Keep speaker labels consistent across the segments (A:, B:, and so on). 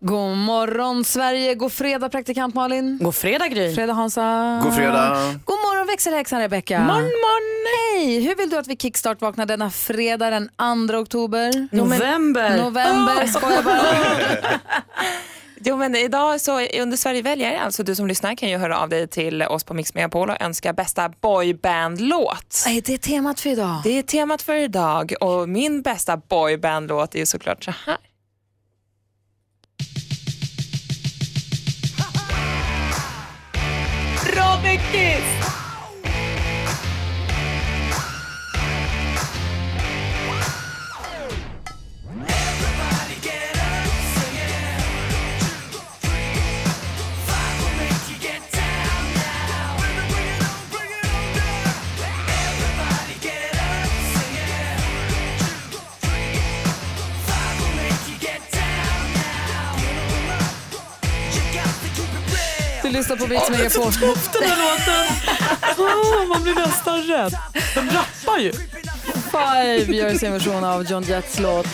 A: God morgon Sverige, god fredag praktikant Malin.
B: God fredag Gry.
A: Fredag Hansa.
C: God fredag.
A: God morgon växelhäxan Rebecka.
B: Morgon, morgon.
A: Hej, hur vill du att vi kickstart vaknar denna fredag den 2 oktober?
B: November. Ah.
A: November, skojar bara.
D: Ah! Jo, men idag så under Sverige väljer, alltså du som lyssnar kan ju höra av dig till oss på Mix Megapol och önska bästa boybandlåt.
A: Nej, det är temat för idag.
D: Det är temat för idag och min bästa boybandlåt är ju såklart så här. Robin Kiss!
A: Du lyssnar på Mix Megapol.
B: Den här låten. Åh, man blir nästan rädd. De rappar ju.
A: Five gör sin version av John Jets låt.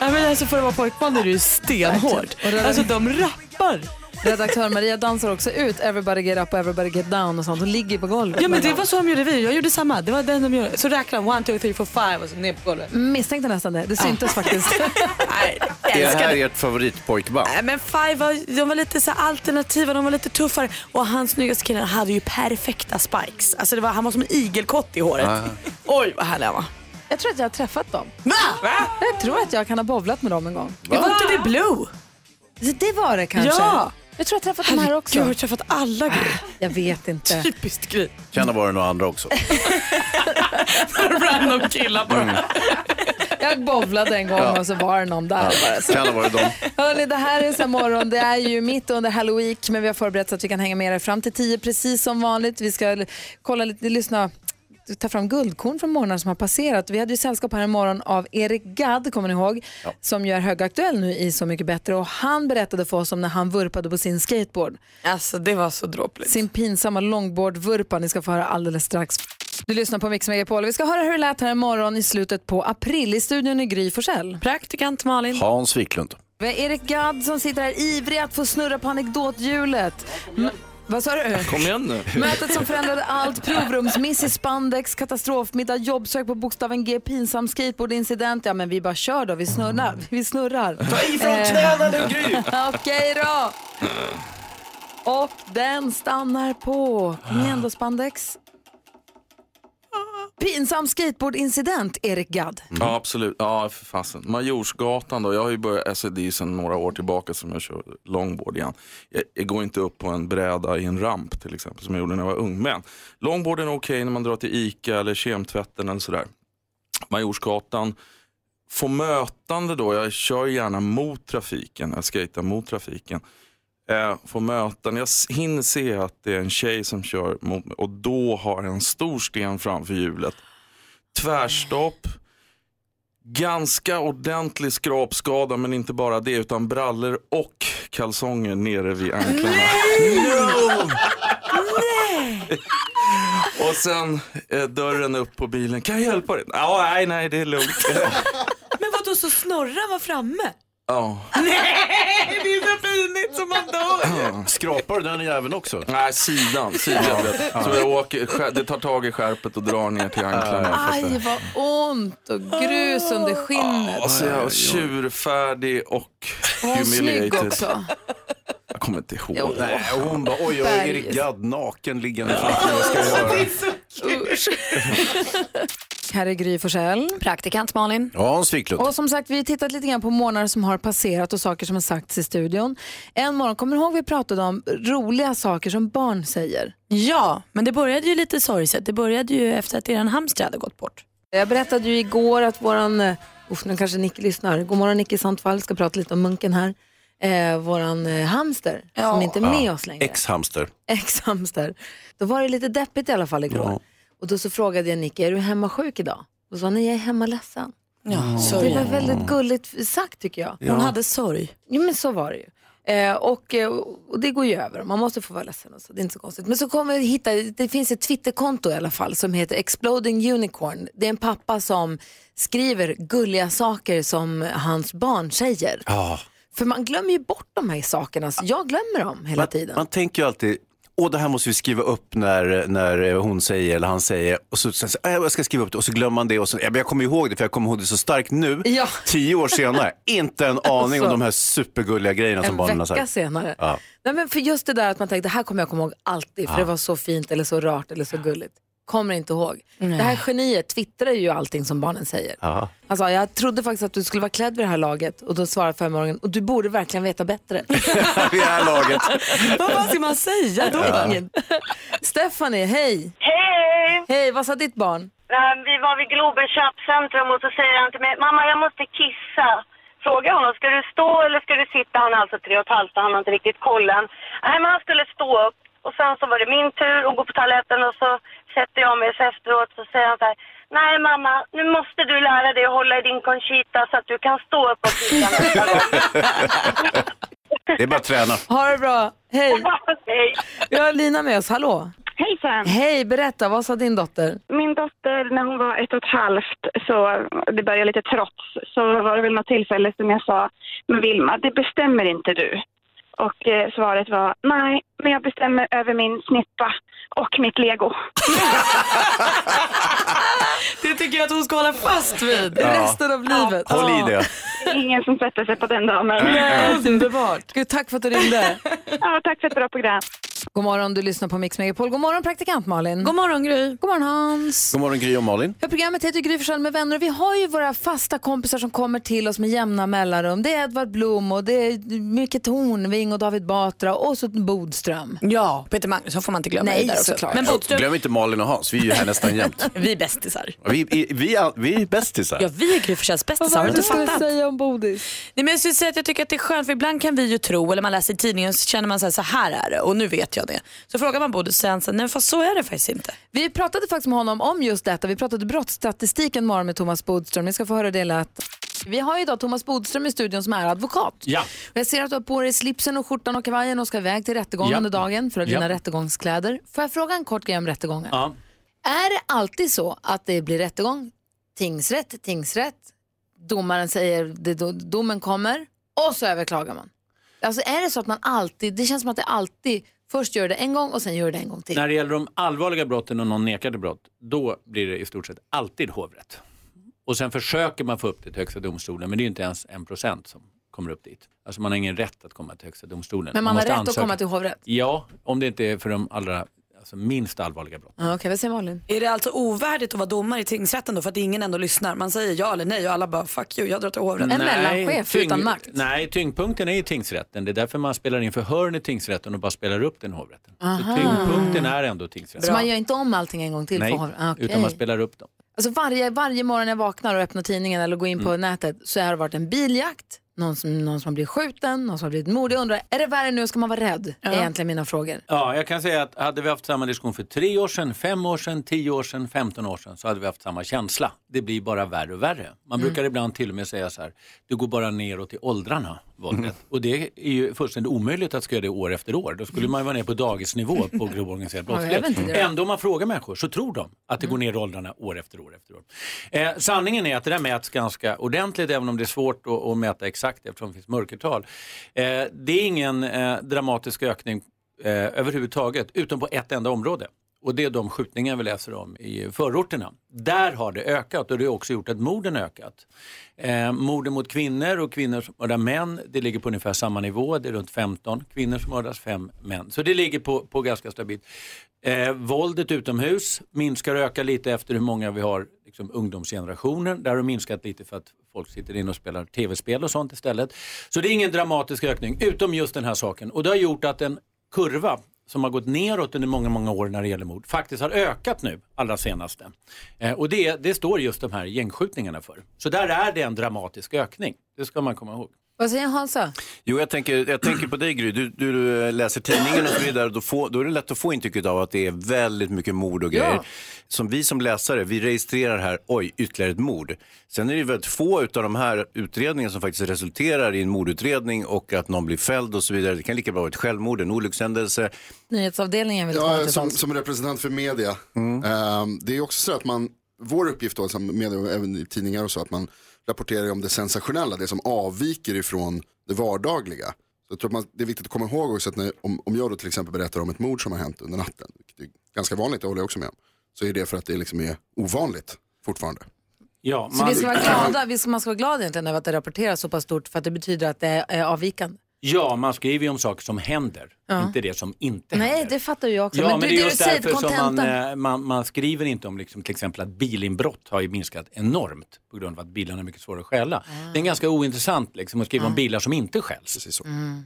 B: Nej, men alltså för att vara pojkband är det ju stenhårt.
A: Och det-
B: Alltså de rappar.
A: Redaktör Maria dansar också ut Everybody Get Up och Everybody Get Down och sånt. Hon ligger på golvet.
B: Ja men det var så de gjorde vi. Jag gjorde samma. Det var den de gjorde. Så räknade de one, two, three, four, five och så ner på golvet.
A: Misstänkte nästan det. Det syntes faktiskt.
D: Nej,
C: Är det
D: älskar
C: här
D: det.
C: ert favoritpojkband?
B: Nej men Five var, de var lite så här alternativa, de var lite tuffare. Och han snyggaste killen hade ju perfekta spikes. Alltså det var, han var som en igelkott i håret. Oj vad härlig han var.
A: Jag tror att jag har träffat dem.
B: Va?
A: Jag tror att jag kan ha bowlat med dem en gång.
B: Det var inte det Blue?
A: Så Det var det kanske.
B: Ja.
A: Jag tror att jag har träffat dem här
B: Jag
A: också.
B: har träffat alla grejer.
A: Jag vet inte.
B: Typiskt grej.
C: Känner var det några andra också.
B: Random killar bara.
C: Mm.
A: Jag bowlade en gång och så var det någon där. bara. Så-
C: Kan ha varit dem.
A: Hörni, det här är så här morgon. Det är ju mitt under Halloween, men vi har förberett så att vi kan hänga med er fram till tio precis som vanligt. Vi ska l- kolla lite, lyssna, ta fram guldkorn från morgonen som har passerat. Vi hade ju sällskap här i morgon av Erik Gadd, kommer ni ihåg, som ju är högaktuell nu i Så mycket bättre. Och han berättade för oss om när han vurpade på sin skateboard.
B: Alltså det var så dråpligt.
A: Sin pinsamma longboardvurpa. Ni ska få höra alldeles strax. Du lyssnar på Mix Megapol. Vi ska höra hur det lät här i morgon i slutet på april. I studion i Gry Forssell.
B: Praktikant Malin.
C: Hans Wiklund.
A: Vi har Erik Gadd som sitter här ivrig att få snurra på anekdothjulet. M- vad sa du?
E: Kom igen nu.
A: Mötet som förändrade allt, provrumsmiss i spandex, katastrofmiddag, jobbsök på bokstaven G, pinsam skateboardincident. Ja men vi bara kör då, vi snurrar. Vi snurrar. Ta ifrån knäna nu Gry! Eh, Okej då. Och den stannar på. Kom igen då spandex. Pinsam skateboardincident, Erik Gadd.
E: Ja, absolut. Ja, för fasen. Majorsgatan då. Jag har ju börjat, alltså det är ju sedan några år tillbaka som jag kör longboard igen. Jag, jag går inte upp på en bräda i en ramp till exempel som jag gjorde när jag var ung. Men longboarden är okej när man drar till ICA eller kemtvätten eller sådär. Majorsgatan. Få mötande då, jag kör ju gärna mot trafiken, jag skejtar mot trafiken. Eh, få möten, jag s- hinner se att det är en tjej som kör mot mig och då har jag en stor sten framför hjulet. Tvärstopp, ganska ordentlig skrapskada men inte bara det utan brallor och kalsonger nere vid anklarna. Och sen eh, dörren upp på bilen. Kan jag hjälpa dig? Ja, nej, nej, det är lugnt.
B: Men vadå så Snorra var framme?
E: Ja.
C: Skrapar du den jäveln också?
E: Nej, sidan. sidan. Så jag åker, skär- det tar tag i skärpet och drar ner till anklarna.
A: Aj vad ont och grus under skinnet.
E: Och Ah, så är jag tjurfärdig och
A: Och hon snygg
E: humiliated.
A: också.
E: Jag kommer inte ihåg.
A: Jo.
C: Nej, och hon bara, oj, jag är Erik Gadd naken liggande framför. Vad ska jag göra?
A: Här är Gry Forssell.
B: Praktikant Malin.
C: Ja, Hans Wiklund.
A: Och som sagt, vi har tittat lite grann på månader som har passerat och saker som har sagts i studion. En morgon, kommer du ihåg vi pratade om roliga saker som barn säger?
B: Ja, men det började ju lite sorgset. Det började ju efter att er hamster hade gått bort.
A: Jag berättade ju eh, igår att våran, usch nu kanske Nick lyssnar, god morgon Nick i sånt fall, ska prata lite om munken här. eh, våran eh, hamster som inte är med oss längre.
C: Ex-hamster.
A: ex-hamster. Då var det lite deppigt i alla fall igår. Och då så frågade jag Nicky, är du hemma sjuk idag? Och så sa han, nej jag är hemma ledsen.
B: Ja,
A: Det
B: sorg.
A: var väldigt gulligt sagt tycker jag.
B: Hon hade sorg.
A: Jo men så var det ju. Eh, och, eh, och det går ju över, man måste få vara ledsen och så, det är inte så konstigt. Men så kommer jag hitta, det finns ett Twitterkonto i alla fall som heter Exploding Unicorn. Det är en pappa som skriver gulliga saker som hans barn säger.
C: Ja.
A: För man glömmer ju bort de här sakerna, så jag glömmer dem hela
F: Man,
A: tiden.
F: man tänker ju alltid, åh det här måste vi skriva upp när, när eh, hon säger eller han säger. Och så, så, så, "Äh, jag ska skriva upp det och så glömmer man det. Och så, ja, men jag kommer ihåg det för jag kommer ihåg det så starkt nu.
A: Ja.
F: Tio år senare, inte en aning
A: Alltså.
F: om de här supergulliga grejerna som barnen
A: en
F: har
A: vecka
F: sagt.
A: senare.
F: Ja.
A: Nej, men för just det där att man tänkte, det här kommer jag komma ihåg alltid för det var så fint eller så rart eller så gulligt. Kommer inte ihåg. Det här geniet twittrar ju allting som barnen säger.
F: Ja.
A: Han sa, jag trodde faktiskt att du skulle vara klädd vid det här laget och då svarade femåringen, och du borde verkligen veta bättre.
F: Vid det här laget.
B: Vad vad ska man säga då? Ingen.
A: Stephanie, hej!
G: Hej!
A: Hej, vad sa ditt barn?
G: Eh, Vi var vid Globen köpcentrum och så säger han till mig, mamma jag måste kissa. Fråga honom, ska du stå eller ska du sitta? Han är alltså tre och ett halvt och han har inte riktigt kollen. Nej men han skulle stå upp och sen så var det min tur att gå på toaletten och så sätter jag mig så efteråt så säger han så här, nej mamma nu måste du lära dig att hålla i din Conchita så att du kan stå upp och kissa nästa gång.
F: Det är bara att träna.
A: Ha det bra, hej!
G: Hej.
A: Vi har Lina med oss, hallå!
G: Hejsan!
A: Hej, berätta, vad sa din dotter?
G: Min dotter, när hon var ett och ett halvt, så det började lite trots, så var det väl något tillfälle som jag sa, men Vilma, det bestämmer inte du. Och eh, svaret var, nej, men jag bestämmer över min snippa och mitt lego.
B: Det tycker jag att hon ska hålla fast vid.
A: Resten av livet.
F: Håll i det.
G: Det är Ingen som sätter sig på den damen.
A: Underbart! Gud, tack för att du ringde.
G: Ja, tack för ett bra program.
A: God morgon, du lyssnar på Mix Megapol. God morgon, praktikant Malin.
B: God morgon Gry.
A: God morgon Hans.
F: God morgon Gry och Malin.
A: Ja, programmet heter Gry Forssell med vänner och vi har ju våra fasta kompisar som kommer till oss med jämna mellanrum. Det är Edvard Blom och det är Micke Tornving och David Batra och så Bodström.
B: Ja, Peter Magnusson får man inte glömma.
A: Nej,
B: i där också.
A: såklart.
B: Men Bodström,
F: Glöm inte Malin och Hans, vi är ju här nästan jämt.
B: vi är bästisar.
F: Vi, vi, vi, är, vi är bästisar.
B: Ja, vi är Gry Forssells bästisar. Har du inte fattat?
A: säga om Bodis?
B: Nej, men jag skulle säga att jag tycker att det är skönt för ibland kan vi ju tro, eller man läser i tidningen så känner man så här, så här är det och nu vet jag det. Så frågar man Bodil sen, så, nej fast så är det faktiskt inte.
A: Vi pratade faktiskt med honom om just detta. Vi pratade brottsstatistik en morgon med Thomas Bodström. Ni ska få höra det lätt. Vi har ju idag Thomas Bodström i studion som är advokat.
H: Ja.
A: Och jag ser att du har på dig slipsen och skjortan och kavajen och ska iväg till rättegång
H: Ja.
A: under dagen för att dina
H: Ja.
A: rättegångskläder. Får jag fråga en kort grej om rättegångar?
H: Ja.
A: Är det alltid så att det blir rättegång, tingsrätt, tingsrätt, domaren säger, det, do- domen kommer och så överklagar man? Alltså är det så att man alltid, det känns som att det alltid, först gör det en gång och sen gör det en gång till.
H: När det gäller de allvarliga brotten och någon nekar till brott, då blir det i stort sett alltid hovrätt. Och sen försöker man få upp det till Högsta domstolen, men det är ju inte ens en procent som kommer upp dit. Alltså man har ingen rätt att komma till Högsta domstolen.
A: Men man har
H: måste
A: rätt att
H: ansöka.
A: komma till hovrätt.
H: Ja, om det inte är för de allra alltså minst allvarliga brotten.
A: Ja, Okej, vad säger Malin?
B: Är det alltså ovärdigt att vara domare i tingsrätten då för att ingen ändå lyssnar? Man säger ja eller nej och alla bara fuck you, jag drar till hovrätten.
A: En mellanchef utan makt.
H: Nej, tyngdpunkten är i tingsrätten. Det är därför man spelar in förhören i tingsrätten och bara spelar upp den i hovrätten. Så tyngdpunkten är ändå tingsrätten.
A: Så man gör inte om allting en gång till?
H: Nej,
A: på hovrätt? Ah, okej.
H: utan man spelar upp dem.
A: Alltså varje, varje morgon jag vaknar och öppnar tidningen eller går in
H: Mm.
A: på nätet så har det varit en biljakt, någon som, någon som har blivit skjuten, någon som har blivit mordig. Jag undrar, är det värre nu? Ska man vara rädd? Är egentligen mina frågor.
H: Ja, jag kan säga att hade vi haft samma diskussion för tre år sedan, fem år sedan, tio år sedan, femton år sedan så hade vi haft samma känsla. Det blir bara värre och värre. Man
A: Mm.
H: brukar ibland till och med säga så här, det går bara neråt i åldrarna, våldet.
A: Mm.
H: Och det är ju fullständigt omöjligt att ska göra det år efter år. Då skulle man ju vara ner på dagisnivå på grov organiserad
A: Mm. jag vet
H: brottslighet.
A: inte Mm. det.
H: Ändå om man frågar människor så tror de att det går ner i åldrarna år efter år efter år. Eh, sanningen är att det där mäts ganska ordentligt även om det är svårt att, att mäta exakt eftersom det finns mörkertal. Eh, det är ingen eh, dramatisk ökning eh, överhuvudtaget, utom på ett enda område. Och det är de skjutningar vi läser om i förorterna. Där har det ökat och det har också gjort att morden ökat. Eh, morden mot kvinnor och kvinnor som mördar män, det ligger på ungefär samma nivå. Det är runt 15 kvinnor som mördas, 5 män. Så det ligger på, på ganska stabilt. Eh, våldet utomhus minskar och ökar lite efter hur många vi har liksom, ungdomsgenerationen. Där har det minskat lite för att folk sitter inne och spelar tv-spel och sånt istället. Så det är ingen dramatisk ökning, utom just den här saken. Och det har gjort att en kurva som har gått neråt under många, många år när det gäller mord faktiskt har ökat nu allra senaste. Eh, och det, det står just de här gängskjutningarna för. Så där är det en dramatisk ökning. Det ska man komma ihåg.
A: Och Vad säger Hansa?
F: Jo, jag tänker, jag tänker på dig Gry. Du, du, du eh, läser tidningen och så vidare. Då, får, då är det lätt att få intrycket av att det är väldigt mycket mord och
A: Ja.
F: grejer. Som vi som läsare, vi registrerar här, oj, ytterligare ett mord. Sen är det ju väldigt få av de här utredningarna som faktiskt resulterar i en mordutredning och att någon blir fälld och så vidare. Det kan lika bra vara ett självmord, en olyckshändelse.
A: Nyhetsavdelningen vill komma
I: Ja,
A: till
I: som,
A: tals.
I: som representant för media. Ehm, det är också så att man, vår uppgift då, som media, och även i tidningar och så, att man rapporterar om det sensationella, det som avviker ifrån det vardagliga. Så jag tror att man, det är viktigt att komma ihåg också att när, om, om jag då till exempel berättar om ett mord som har hänt under natten, vilket är ganska vanligt, det håller jag också med om, så är det för att det liksom är ovanligt fortfarande.
H: Ja,
A: Så vi ska vara glada, vi ska, man ska vara glad egentligen över att det rapporteras så pass stort för att det betyder att det är avvikande.
H: Ja, man skriver ju om saker som händer,
A: Ja.
H: inte det som inte händer.
A: Nej, det fattar ju jag också.
H: Ja, men, det är
A: du
H: just
A: säger,
H: därför som man,
A: kontentan.
H: eh, man, man skriver inte om liksom, till exempel att bilinbrott har ju minskat enormt på grund av att bilarna är mycket svårare att stjäla.
A: Ah.
H: Det är ganska ointressant liksom, att skriva om bilar som inte stjäls.
A: Mm.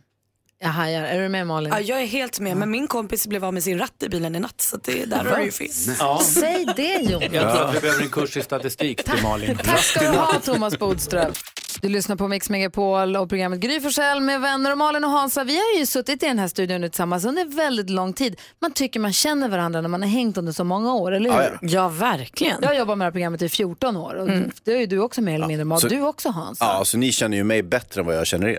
A: Jag hajar. Är du med Malin?
B: Ja, jag är helt med, men min kompis blev av med sin ratt i bilen i natt så att det, där har du ju fel.
H: Ja.
A: Säg det Jon.
H: Jag tror att vi behöver en kurs i statistik till Malin.
A: Tack ska du ha Thomas Bodström. Du lyssnar på Mix Megapol och programmet Gry Forssell med vänner och Malin och Hansa. Vi har ju suttit i den här studion nu tillsammans under väldigt lång tid. Man tycker man känner varandra när man har hängt under så många år, eller hur?
B: Ja, ja. verkligen. Mm.
A: Jag har jobbat med det här programmet i 14 år och det har ju du också mer eller mindre. Mal.
F: så-
A: Du också Hans.
F: Ja, så ni känner ju mig bättre än vad jag känner er.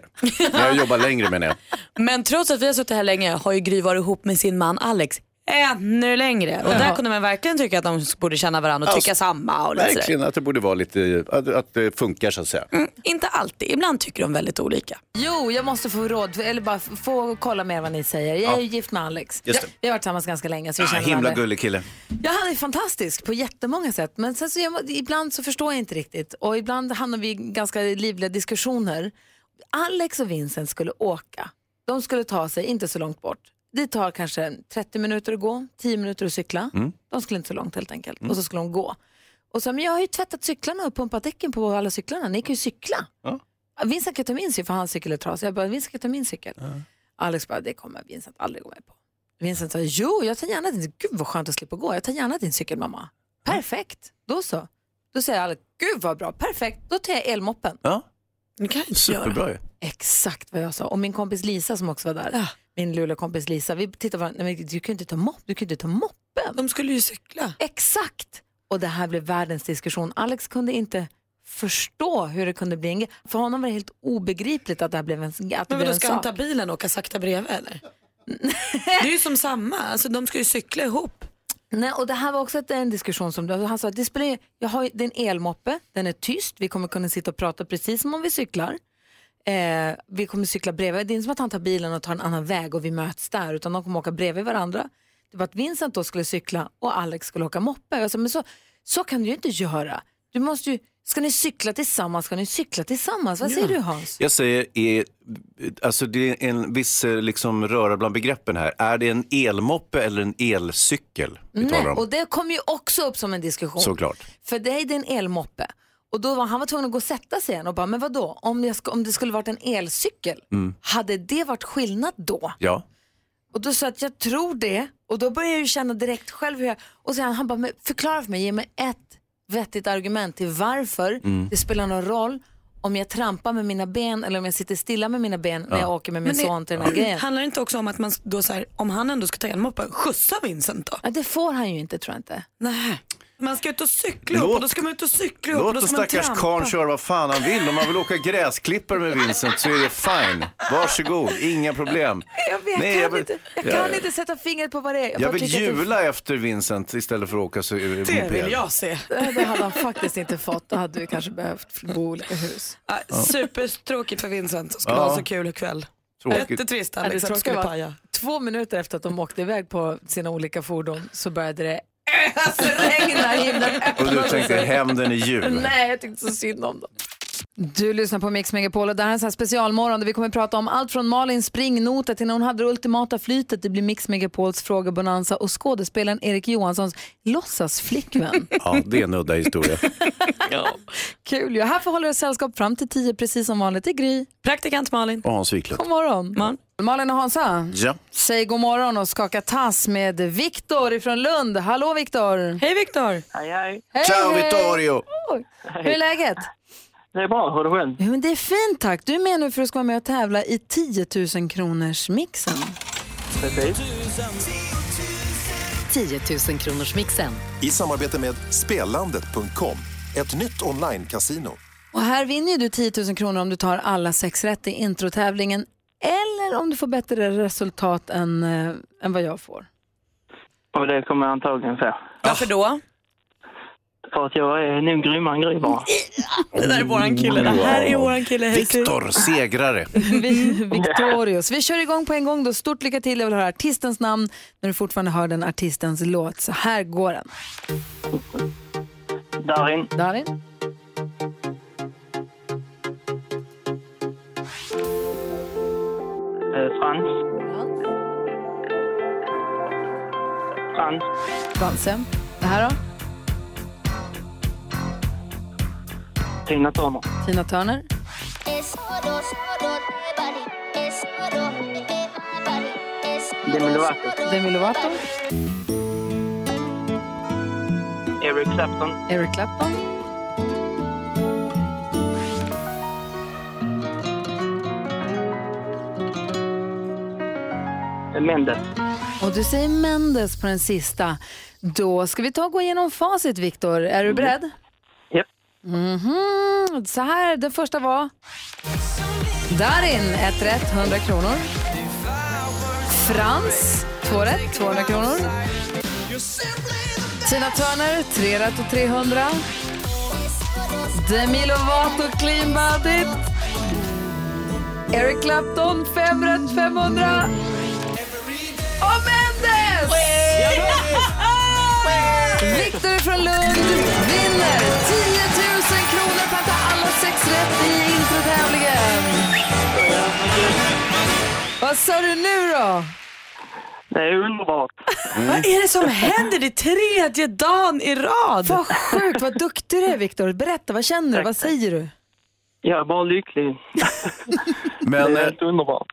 F: Jag jobbar längre menar jag.
B: Men trots att vi har suttit här länge har ju Gry varit ihop med sin man Alex ännu längre. Och där kunde man verkligen tycka att de borde känna varandra och
F: Ja,
B: tycka
F: så-
B: samma. Och lite sådär.
F: Verkligen att det borde vara lite, att, att det funkar så att säga.
B: Inte Mm, alltid, ibland tycker de väldigt olika.
A: Jo, jag måste få råd, eller bara f- få kolla mer vad ni säger. Jag är
F: Ja.
A: ju gift med Alex.
F: Just det.
A: Vi har varit tillsammans ganska länge så
B: Alltså,
F: Ah,
A: vi känner
F: himla
A: varandra.
F: gullig kille.
A: Ja, han är fantastisk på jättemånga sätt. Men sen så, jag, ibland så förstår jag inte riktigt och ibland hamnar vi i ganska livliga diskussioner. Alex och Vincent skulle åka. De skulle ta sig inte så långt bort. Det tar kanske en 30 minuter att gå, 10 minuter att cykla.
J: Mm.
A: De skulle inte så långt helt enkelt.
J: Mm.
A: Och så skulle de gå. Och så, men jag har ju tvättat cyklarna och pumpat däcken på alla cyklarna. Ni kan ju cykla. Vincent kan ta min cykel för hans cykel är trasig. Jag bara, Vincent kan ta min cykel. Alex bara, det kommer Vincent aldrig gå med på. Vincent sa, jo, jag tar gärna din, gud vad skönt att slippa gå, jag tar gärna din cykel mamma. Perfekt, då så. Då säger Alex, gud vad bra, perfekt, då tar jag elmoppen.
F: Ja.
B: Det kan jag inte
F: Superbra ju.
A: Exakt vad jag sa. Och min kompis Lisa som också var där, min Luleå-kompis Lisa, vi tittade på varandra, nej, men du kan ju inte ta mopp, du kan ju inte ta moppen.
B: De skulle ju cykla.
A: Exakt, och det här blev världens diskussion. Alex kunde inte förstå hur det kunde bli en grej. För honom var det helt obegripligt att det här blev en, att det
B: Men
A: blev
B: vadå,
A: en
B: ska
A: sak.
B: han ta bilen och åka sakta bredvid eller? det är ju som samma, alltså, de ska ju cykla ihop.
A: Nej, och det här var också ett, en diskussion som du- han sa, att det spelar, ju- jag har ju, det är en elmoppe, den är tyst, vi kommer kunna sitta och prata precis som om vi cyklar. Eh, vi kommer cykla bredvid, det är inte som att han tar bilen och tar en annan väg och vi möts där, utan de kommer åka bredvid varandra. Det var att Vincent då skulle cykla och Alex skulle åka moppe. Jag sa, men så, så kan du ju inte göra. Du måste ju, ska ni cykla tillsammans, ska ni cykla tillsammans? Vad säger du Hans?
F: Jag säger, är, alltså det är en viss eh, liksom, röra bland begreppen här. Är det en elmoppe eller en elcykel vi
A: Nej,
F: talar om?
A: och det kom ju också upp som en diskussion.
F: Såklart.
A: För det är ju en elmoppe. Och då var han var tvungen att gå och sätta sig igen och bara, men vadå, om, jag sk- om det skulle varit en elcykel,
F: Mm.
A: hade det varit skillnad då?
F: Ja.
A: Och då sa jag att jag tror det och då började jag ju känna direkt själv hur jag, och sen han bara, men förklara för mig, ge mig ett vettigt argument till varför
J: Mm.
A: det spelar någon roll om jag trampar med mina ben eller om jag sitter stilla med mina ben när jag åker med min
B: Men det-
A: son till den här grejen.
B: Handlar det inte också om att man då så här, om han ändå ska ta en moppe, skjutsa Vincent då?
A: Ja, det får han ju inte tror jag inte.
B: Nej. Man ska ut och cykla
F: Låt-
B: ihop och då ska man ut och cykla ihop och
F: Låt
B: då
F: den
B: ska man
F: stackars
B: trampa.
F: karln köra vad fan han vill. Om han vill åka gräsklippare med Vincent så är det fine. Varsågod, inga problem.
A: Jag vet,
F: Nej,
A: kan
F: jag vill-
A: inte, jag
F: Ja,
A: kan
F: ja.
A: inte sätta fingret på vad det är.
F: Jag,
A: bara
F: vill
A: tycker att det-
F: jula efter Vincent istället för att åka så,
B: Det vill jag se.
A: Ja, Det hade han faktiskt inte fått. Då hade vi kanske behövt bo i olika hus.
B: Ja. Supertråkigt för Vincent som skulle
A: Ja.
B: ha så kul kväll.
A: Tråkigt.
B: Jättetrist
A: Ja, det
B: Alex att det
A: tråkiga
B: skulle
A: var-
B: paja.
A: Två minuter efter att de åkte iväg på sina olika fordon så började det regna himlen.
F: Och du tänkte hämnden är djur.
A: Nej, jag tyckte så synd om dem. Du lyssnar på Mix Megapol och det här är en sån här specialmorgon där vi kommer prata om allt från Malins springnota till när hon hade det ultimata flytet. Det blir Mix Megapols frågebonanza och skådespelaren Erik Johanssons låtsasflickvän.
F: Ja, det är en udda historia.
A: Kul ju. Här får hålla er sällskap fram till tio precis som vanligt. Det är Gry.
B: Praktikant Malin.
F: Och Hans Wiklund.
A: God morgon. Malin och Hansa.
F: Ja.
A: Säg god morgon och skaka tass med Viktor ifrån Lund. Hallå Viktor!
B: Hej Viktor!
K: Hej, hej.
A: Hej,
F: Ciao
A: hej.
F: Vittorio!
A: Hur är läget?
J: Det är bra, hur är det själv?
A: Jo, men det är fint tack. Du är med nu för att ska vara med och tävla i 10 000 kronors mixen.
J: Precis.
K: 10 000 kronors mixen.
L: I samarbete med Spelandet.com, ett nytt online-casino.
A: Och här vinner ju du 10 000 kronor om du tar alla sex rätt i introtävlingen eller om du får bättre resultat än, eh, än vad jag får.
J: Och det kommer jag antagligen få.
D: Varför då?
J: För att jag är nog grymmare än Gry bara.
D: Det där är våran kille.
B: Det här är våran kille. Hej, Siri.
F: Viktor, segrare.
A: Vi- Victorious. Vi kör igång på en gång då. Stort lycka till. Jag vill höra artistens namn när du fortfarande hör den artistens låt. Så här går den.
J: Darin.
A: Darin.
J: Eh, Frans. Frans.
A: Danse. Det här då?
J: Tina Turner.
A: Tina Turner.
J: Demi Lovato.
A: Demi Lovato.
J: Eric Clapton.
A: Eric Clapton.
J: Eh, Mendes.
A: Och du säger Mendes på den sista. Då ska vi ta och gå igenom facit, Viktor. Är du beredd?
J: Japp.
A: Mhm. Så här, den första var... Darin, ett rätt, 100 kronor. Frans, två rätt, 200 kronor. Tina Turner, tre rätt och 300. Demi Lovato, Clean Bandit. Eric Clapton, fem rätt, 500. Och Mendes! Viktor från Lund vinner 10 000 kronor för att ta alla sex rätt i introtävlingen. Vad sa du nu då?
J: Det är underbart.
B: Vad är det som händer? Det är tredje dagen i rad.
A: Vad sjukt, vad duktig du är Viktor. Berätta, vad känner du? Vad säger du?
J: Jag är bara lycklig.
F: Men
J: Det är
F: eh,
J: helt underbart.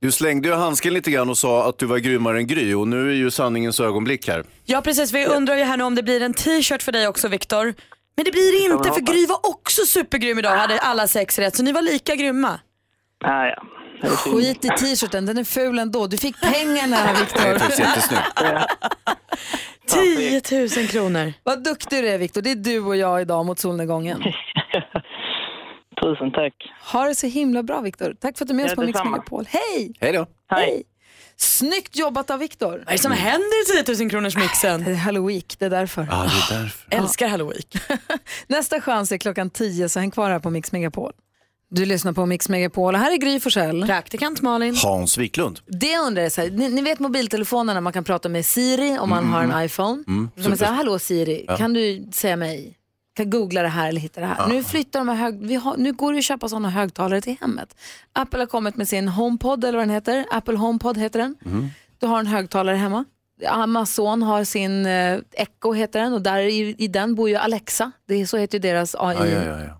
F: du slängde ju handsken lite grann och sa att du var grymmare än Gry och nu är ju sanningens ögonblick här.
B: Ja precis, vi undrar ju här nu om det blir en t-shirt för dig också Viktor. Men det blir det inte
F: jag
B: för
F: hoppas.
B: Gry var också supergrym idag och hade alla sex rätt så ni var lika grymma.
J: Ah, ja.
A: Skit i t-shirten, den är ful ändå. Du fick pengarna Viktor.
B: 10 000 kronor.
A: Vad duktig du är Viktor. Det är du och jag idag mot solnedgången.
J: Tusen tack.
A: Ha det så himla bra Viktor. Tack för att du är med
J: Ja,
A: oss på Mix
J: detsamma.
A: Megapol. Hej!
F: Hej då.
J: Hej.
A: Snyggt jobbat av Viktor. Vad
B: är det som
H: Mm.
B: händer i 10 000 kronors mixen?
A: Det är halloween, det är därför.
F: Ja, det är därför.
B: Älskar halloween.
A: Nästa chans är klockan 10 så häng kvar här på Mix Megapol. Du lyssnar på Mix Megapol och här är Gry Forssell.
B: Praktikant Malin.
F: Hans Wiklund.
A: Det undrar jag, så här, ni, ni vet mobiltelefonerna man kan prata med Siri om man
F: Mm.
A: har en iPhone.
F: Mm.
A: Så man säger, hallå Siri,
F: Ja.
A: kan du säga mig, kan googla det här eller hitta det här.
F: Ja.
A: Nu flyttar de här hög, vi har, nu går det ju att köpa sådana högtalare till hemmet. Apple har kommit med sin HomePod eller vad den heter, Apple HomePod heter den.
M: Mm-hmm.
A: Du har en högtalare hemma. Amazon har sin eh, Echo heter den och där i, i den bor ju Alexa. Det är, så heter ju deras eh,
F: Ja, ja, ja, ja.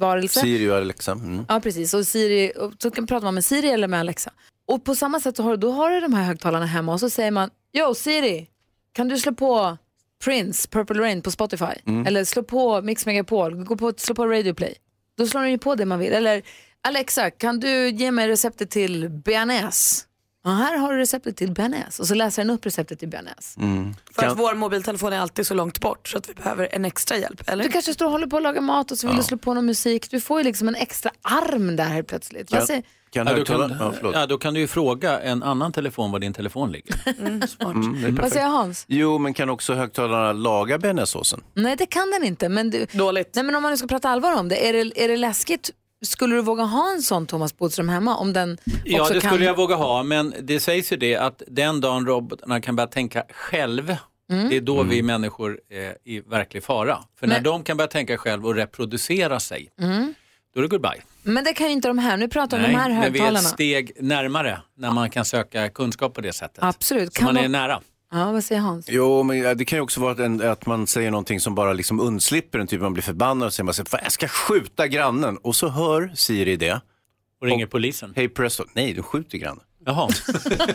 A: AI-varelse.
F: Siri och Alexa. Mm.
A: Ja, precis. Och Siri, och så kan pratar man med Siri eller med Alexa. Och på samma sätt så har, du- då har du de här högtalarna hemma och så säger man, Yo Siri, kan du slå på Prince, Purple Rain på Spotify?
N: Mm.
A: Eller slå på Mix Megapol, gå på, slå på Radio Play. Då slår den ju på det man vill. Eller Alexa, kan du ge mig receptet till bearnaise? Ja, här har du receptet till bearnaise. Och så läser den upp receptet till bearnaise.
H: Mm.
B: För
A: Kan-
B: att vår mobiltelefon är alltid så långt bort så att vi behöver en extra hjälp, eller?
A: Du kanske står och håller på att laga mat och så vill
B: Ja.
A: du slå på någon musik. Du får ju liksom en extra arm där helt plötsligt. Vad säger-
H: ja, då,
F: högtalaren- ja,
H: kan,
F: förlåt.
H: ja, då kan du ju fråga en annan telefon var din telefon ligger.
F: Mm, det är
A: Vad
F: perfekt.
A: säger Hans?
F: Jo, men kan också högtalarna laga bearnaisesåsen?
A: Nej, det kan den inte. Men du,
B: Dåligt.
A: Nej, men om man nu ska prata allvar om det, är det, är det läskigt? Skulle du våga ha en sån Thomas Bodström hemma? Om den
H: Ja,
A: också
H: det
A: kan...
H: skulle jag våga ha, men det sägs ju det att den dagen robotarna kan börja tänka själv,
A: Mm.
H: det är då vi människor är i verklig fara. För när
A: Men-
H: de kan börja tänka själv och reproducera sig,
A: Mm.
H: då är det goodbye.
A: Men det kan ju inte de här. Nu pratar vi om
H: Nej,
A: de här
H: men vi är ett
A: högtalarna.
H: steg närmare när man kan söka kunskap på det sättet.
A: Absolut.
H: Så man är
A: man-
H: nära.
A: Ja, vad säger Hans?
F: Jo, men eh, det kan ju också vara att, en, att man säger någonting som bara liksom undslipper en, typ man blir förbannad och säger man så här, "Fan, jag ska skjuta grannen och så hör Siri det.
H: Och ringer polisen.
F: Hej presto, nej du skjuter grannen.
H: Jaha.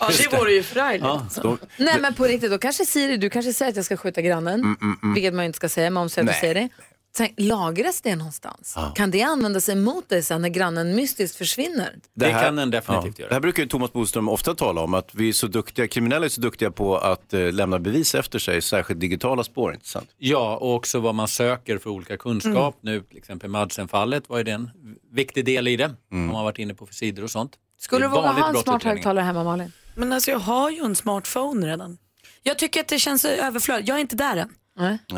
B: Ja, det vore ju förargligt.
F: Ja, så-
A: Nej men på riktigt, då kanske Siri, du kanske säger att jag ska skjuta grannen.
F: Mm, mm, mm.
A: Vilket man ju inte ska säga, men om säger att du
F: Nej.
A: säger det. Tänk, lagras det någonstans?
F: Ja.
A: Kan det användas emot dig sen när grannen mystiskt försvinner?
H: kan den definitivt göra.
F: Det här brukar ju Thomas Bodström ofta tala om, att vi är så duktiga, kriminella är så duktiga på att eh, lämna bevis efter sig, särskilt digitala spår, inte sant?
H: Ja, och också vad man söker för olika kunskap.
F: Mm.
H: Nu till exempel Madsen-fallet var ju det en viktig del i det.
B: Mm.
H: Om man varit inne på för sidor och sånt.
A: Skulle
H: Det
A: du
H: är
A: våga
H: vanligt
A: ha en
H: brott i
A: smart
H: utredningen.
A: högtalare hemma Malin?
B: Men alltså jag har ju en smartphone redan. Jag tycker att det känns överflödigt. Jag är inte där än.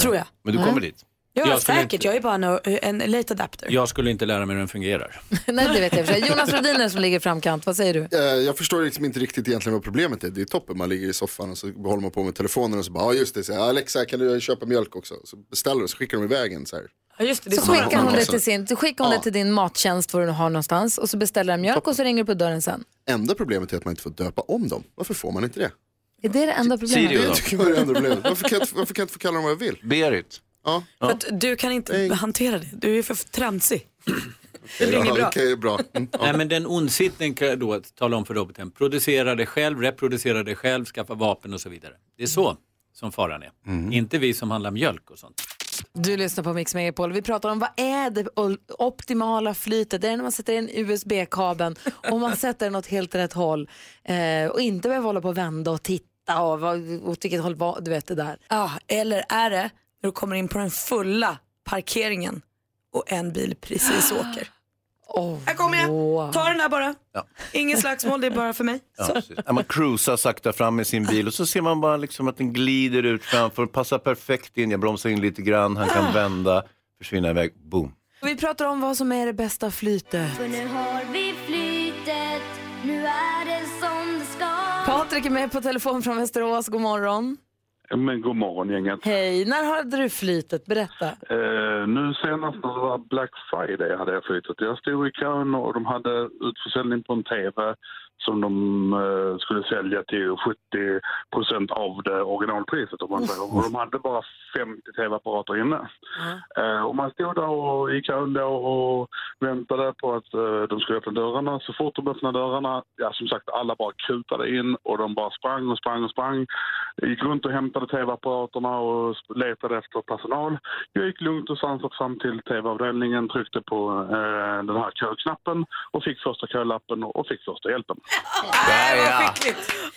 B: Tror jag.
H: Men du kommer Nej. dit.
B: Ja,
H: Jag skulle
B: säkert.
H: inte-
B: Jag är bara en, en late adapter.
H: Jag skulle inte lära mig hur den fungerar.
A: Nej, det vet jag i och för sig. Jonas Rhodiner som ligger i framkant, vad säger du?
I: Eh, Jag förstår liksom inte riktigt egentligen vad problemet är. Det är toppen, man ligger i soffan och så håller man på med telefonen och så bara, ja just det, så, här, Alexa kan du köpa mjölk också? Så beställer du så skickar de iväg en så här.
A: så
I: så
A: skickar hon,
I: man
A: det
I: också.
A: till, sin, så skickar hon det till din mattjänst, vad du har någonstans, och så beställer den mjölk och så ringer du på dörren sen.
I: Enda problemet är att man inte får döpa om dem. Varför får man inte det?
A: Är det det enda problemet?
I: Det tycker jag är det enda problemet. Varför kan jag, inte- varför kan jag inte få kalla dem vad jag vill?
F: Berit.
I: Ja.
B: För att du kan inte hantera det. Du är för tramsig. Det ringer bra.
I: bra.
H: Mm, Nej, men den ondsinten kan jag då tala om för roboten. Producera dig själv, reproducera dig själv, skaffa vapen och så vidare. Det är
B: Mm.
H: så som faran är. Inte vi som handlar mjölk och sånt.
A: Du lyssnar på Mix Megapol. Vi pratar om vad är det ol- optimala flytet? Det är när man sätter in USB-kabeln och man sätter den åt helt rätt håll eh, och inte behöver hålla på och vända och titta och vad, åt vilket håll var, du vet det där.
B: Ja, eller är det när du kommer in på den fulla parkeringen och en bil precis åker? här kommer jag, ta den här bara. Inget slagsmål, det är bara för mig.
F: Ja,
B: Så.
F: precis. När man cruisar sakta fram med sin bil och så ser man bara liksom att den glider ut framför, passar perfekt in, jag bromsar in lite grann, han kan vända, försvinna iväg, boom.
A: Vi pratar om vad som är det bästa flytet.
N: För nu har vi flytet, nu är det som det ska
A: Patrik är med på telefon från Västerås. God morgon.
O: Men god morgon gänget.
A: Hej, när hade du flytet? Berätta.
O: Eh, nu senast när det var Black Friday hade jag flyttat. Jag stod i kön och de hade utförsäljning på en TV som de eh, skulle sälja till 70 av det originalpriset. Om man säger. Och de hade bara 50 TV-apparater inne. Eh, och man stod där och, i kön då och väntade på att eh, de skulle öppna dörrarna. Så fort de öppnade dörrarna, ja som sagt, alla bara kutade in och de bara sprang och sprang och sprang. Gick runt och hämtade tv-apparaterna och sp- letade efter personal. Jag gick lugnt och sansat fram till tv-avdelningen, tryckte på eh, den här köknappen och fick första kölappen och fick första hjälpen.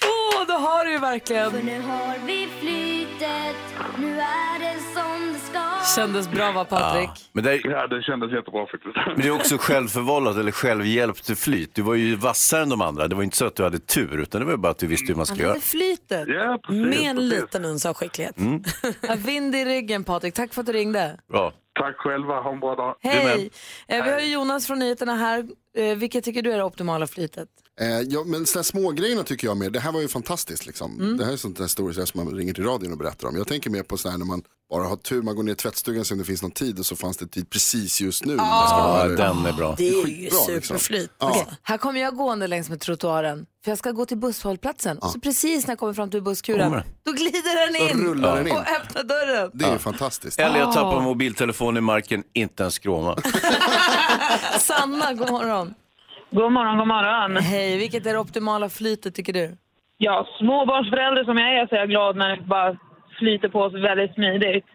A: Åh, då har du ju verkligen.
N: För nu har vi flytet, nu är det som det ska
A: Kändes bra va Patrik?
F: Men det,
O: ja, det kändes jättebra faktiskt.
F: Men det är också självförvållat eller självhjälp till flyt. Du var ju vassare än de andra. Det var inte så att du hade tur, utan det var ju bara att du visste hur man skulle göra.
A: flytet.
O: Ja,
B: Med en liten uns av skicklighet.
F: Mm,
A: Ja, Vind i ryggen Patrik, tack för att du ringde.
F: bra.
O: Tack själva, ha en bra dag.
A: Hej! Eh, vi har ju Jonas från nyheterna här. Eh, vilket tycker du är det optimala flytet?
I: Eh, ja, men sådana smågrejerna tycker jag mer, det här var ju fantastiskt liksom.
A: Mm.
I: Det här är sånt där stora grejer som man ringer till radion och berättar om. Jag tänker mer på sådär när man bara har tur, man går ner i tvättstugan så om det finns någon tid och så fanns det tid precis just nu. när man ska
F: Ah,
I: vara där.
F: den är bra.
B: Det är ju
I: skitbra, liksom.
B: superflyt.
I: Ja.
A: Okej, här kommer jag gående längs med trottoaren för jag ska gå till busshållplatsen. Och så precis när jag kommer fram till busskuren,
F: Kommer.
A: då glider den
F: Då
A: in,
F: rullar den in.
A: och öppnar dörren.
F: Det är ju
I: fantastiskt.
F: Eller jag tappar
A: Ah.
F: mobiltelefonen i marken, inte en skråma.
A: Sanna, god morgon.
P: God morgon, god morgon.
A: Hej, vilket är det optimala flytet tycker du?
P: Ja, småbarnsförälder som jag är så är jag glad när det bara flyter på så väldigt smidigt.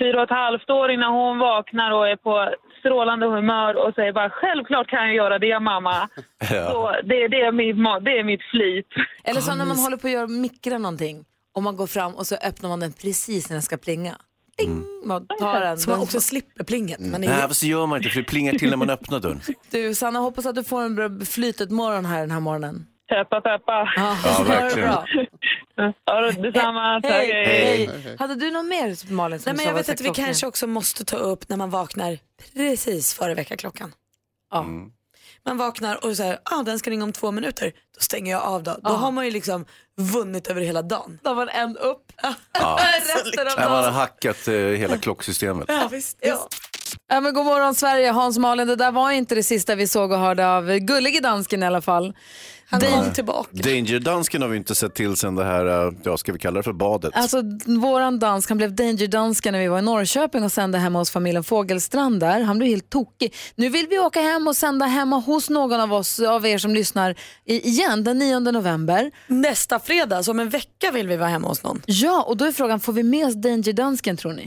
P: Fyra och ett halvt år innan hon vaknar och är på strålande humör och säger bara självklart kan jag göra det mamma. Så det, det, är mitt, ma- det är mitt flyt. Mm.
A: Eller så när man håller på att göra mikra någonting och man går fram och så öppnar man den precis när den ska plinga. Ding! Man tar den.
B: Så man också
A: slipper plinget.
F: Mm. Nej, vad så gör man inte, för Mm. det plingar till när man öppnar dörren.
A: Du, Sanna, hoppas att du får en bra flytet morgon här den här morgonen.
P: Peppa, peppa.
A: Ja,
F: Ja,
A: ha det
F: verkligen.
A: bra.
P: Ja, detsamma. Tack,
B: Hej.
A: Hej.
B: Hej.
A: Hade du något mer, Malin? Som
B: Nej, men
A: du sa
B: jag vet
A: var
B: att vi
A: sexklockan?
B: kanske också måste ta upp när man vaknar precis före väckarklockan.
A: Ja.
B: Man vaknar och säger ah, den ska ringa om två minuter, då stänger jag av då. Då har man ju liksom vunnit över hela dagen.
A: Då har man en upp.
F: Ja.
A: Resten av
F: Nej, man har
A: dagen.
F: hackat eh, hela klocksystemet.
A: Ja, visst. Ja. Ja, men god morgon Sverige, Hans Malin. Det där var inte det sista vi såg och hörde av gullige dansken i alla fall.
B: Han kom tillbaka.
F: Danger-dansken har vi inte sett till sen det här, eh, ja, ska vi kalla det för badet?
A: Alltså våran dansk, han blev danger-dansken när vi var i Norrköping och sände hemma hos familjen Fågelstrand där. Han blev helt tokig. Nu vill vi åka hem och sända hemma hos någon av oss, av er som lyssnar, i- igen den 9 november.
B: Nästa fredag, så om en vecka vill vi vara hemma hos någon.
A: Ja, och då är frågan, får vi med oss danger-dansken tror ni?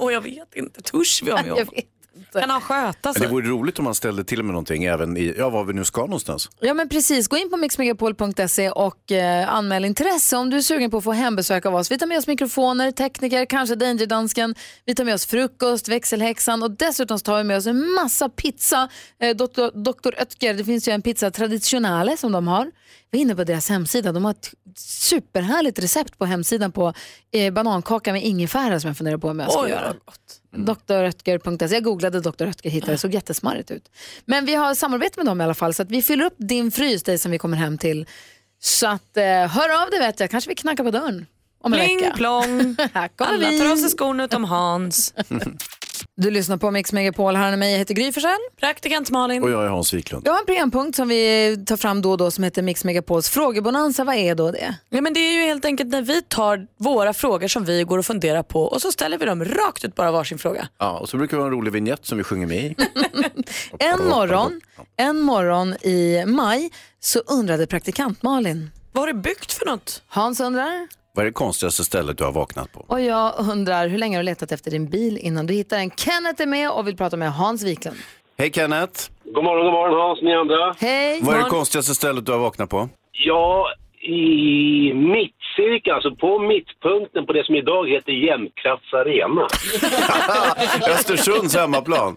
B: Och jag vet inte, törs vi om
A: Jag vet inte.
B: Kan han sköta
F: Men
B: sig?
F: Det vore roligt om man ställde till med någonting även i, ja, var vi nu ska någonstans.
A: Ja men precis, gå in på mixmegapol.se och eh, anmäl intresse om du är sugen på att få hembesök av oss. Vi tar med oss mikrofoner, tekniker, kanske Dangerdansken. Vi tar med oss frukost, växelhäxan och dessutom så tar vi med oss en massa pizza. Eh, Dr. Dr. Oetker, det finns ju en pizza traditionale som de har. Vi är inne på deras hemsida. De har ett superhärligt recept på hemsidan på eh, banankaka med ingefära som jag funderar på om jag ska
B: Oj,
A: göra. Drötger.se. Jag googlade Dr. Rötger och hittade det, såg jättesmarrigt ut. Men vi har samarbete med dem i alla fall så att vi fyller upp din frys, dig som vi kommer hem till. Så att eh, hör av dig vet jag, kanske vi knackar på dörren om en
B: Pling,
A: vecka.
B: plong.
A: Här kommer
B: Alla
A: vi.
B: tar av sig skorna utom Hans.
A: Du lyssnar på Mix Megapol, här med mig, jag heter Gry Forssell.
B: Praktikant Malin.
F: Och jag är Hans Wiklund.
A: Jag har en programpunkt som vi tar fram då och då som heter Mix Megapols frågebonanza. Vad är då det?
B: Ja, men det är ju helt enkelt när vi tar våra frågor som vi går och funderar på och så ställer vi dem rakt ut bara varsin fråga.
F: Ja, och så brukar vi ha en rolig vignett som vi sjunger med i.
A: En morgon, en morgon i maj så undrade praktikant Malin.
B: Vad har du byggt för något?
A: Hans undrar.
F: Vad är det konstigaste stället du har vaknat på?
A: Och jag undrar, hur länge har du letat efter din bil innan du hittar den? Kenneth är med och vill prata med Hans Wiklund.
F: Hej Kenneth!
Q: God morgon, god morgon Hans, ni andra.
A: Hej!
F: Vad är det konstigaste stället du har vaknat på?
Q: Ja, i mittcirkeln, alltså på mittpunkten på det som idag heter Jämtkrafts arena.
F: Östersunds hemmaplan.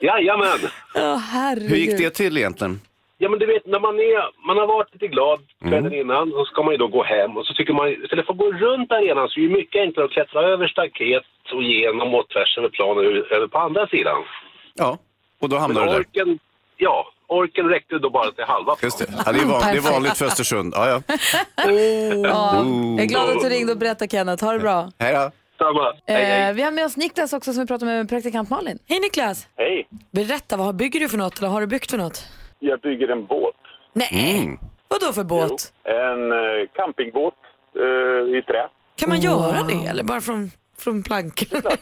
Q: Jajamän!
A: Oh, herregud.
F: Hur gick det till egentligen?
Q: Ja men du vet när man, är, man har varit lite glad
F: Mm.
Q: kvällen innan så ska man ju då gå hem och så tycker man istället för att gå runt arenan så är det ju mycket enklare att klättra över staket och genom och tvärs över planen över- över på andra sidan.
F: Ja, och då hamnade du där.
Q: orken, ja, orken räckte då bara till halva Just det.
F: Ja, det, är van, det är
A: Perfekt.
F: vanligt för Östersund. Ja, ja.
A: Ja,
F: Oh.
A: jag är glad att du ringde och berättade Kenneth. Ha det bra.
F: Hej då.
A: Eh, vi har med oss Niklas också som vi pratar med, med praktikant Malin.
B: Hej Niklas!
R: Hej!
B: Berätta, vad bygger du för något eller har du byggt för något?
R: Jag bygger en båt.
B: Nej! Vad då för båt?
R: En eh, campingbåt eh, i trä.
B: Kan man göra det eller bara från, från plankor?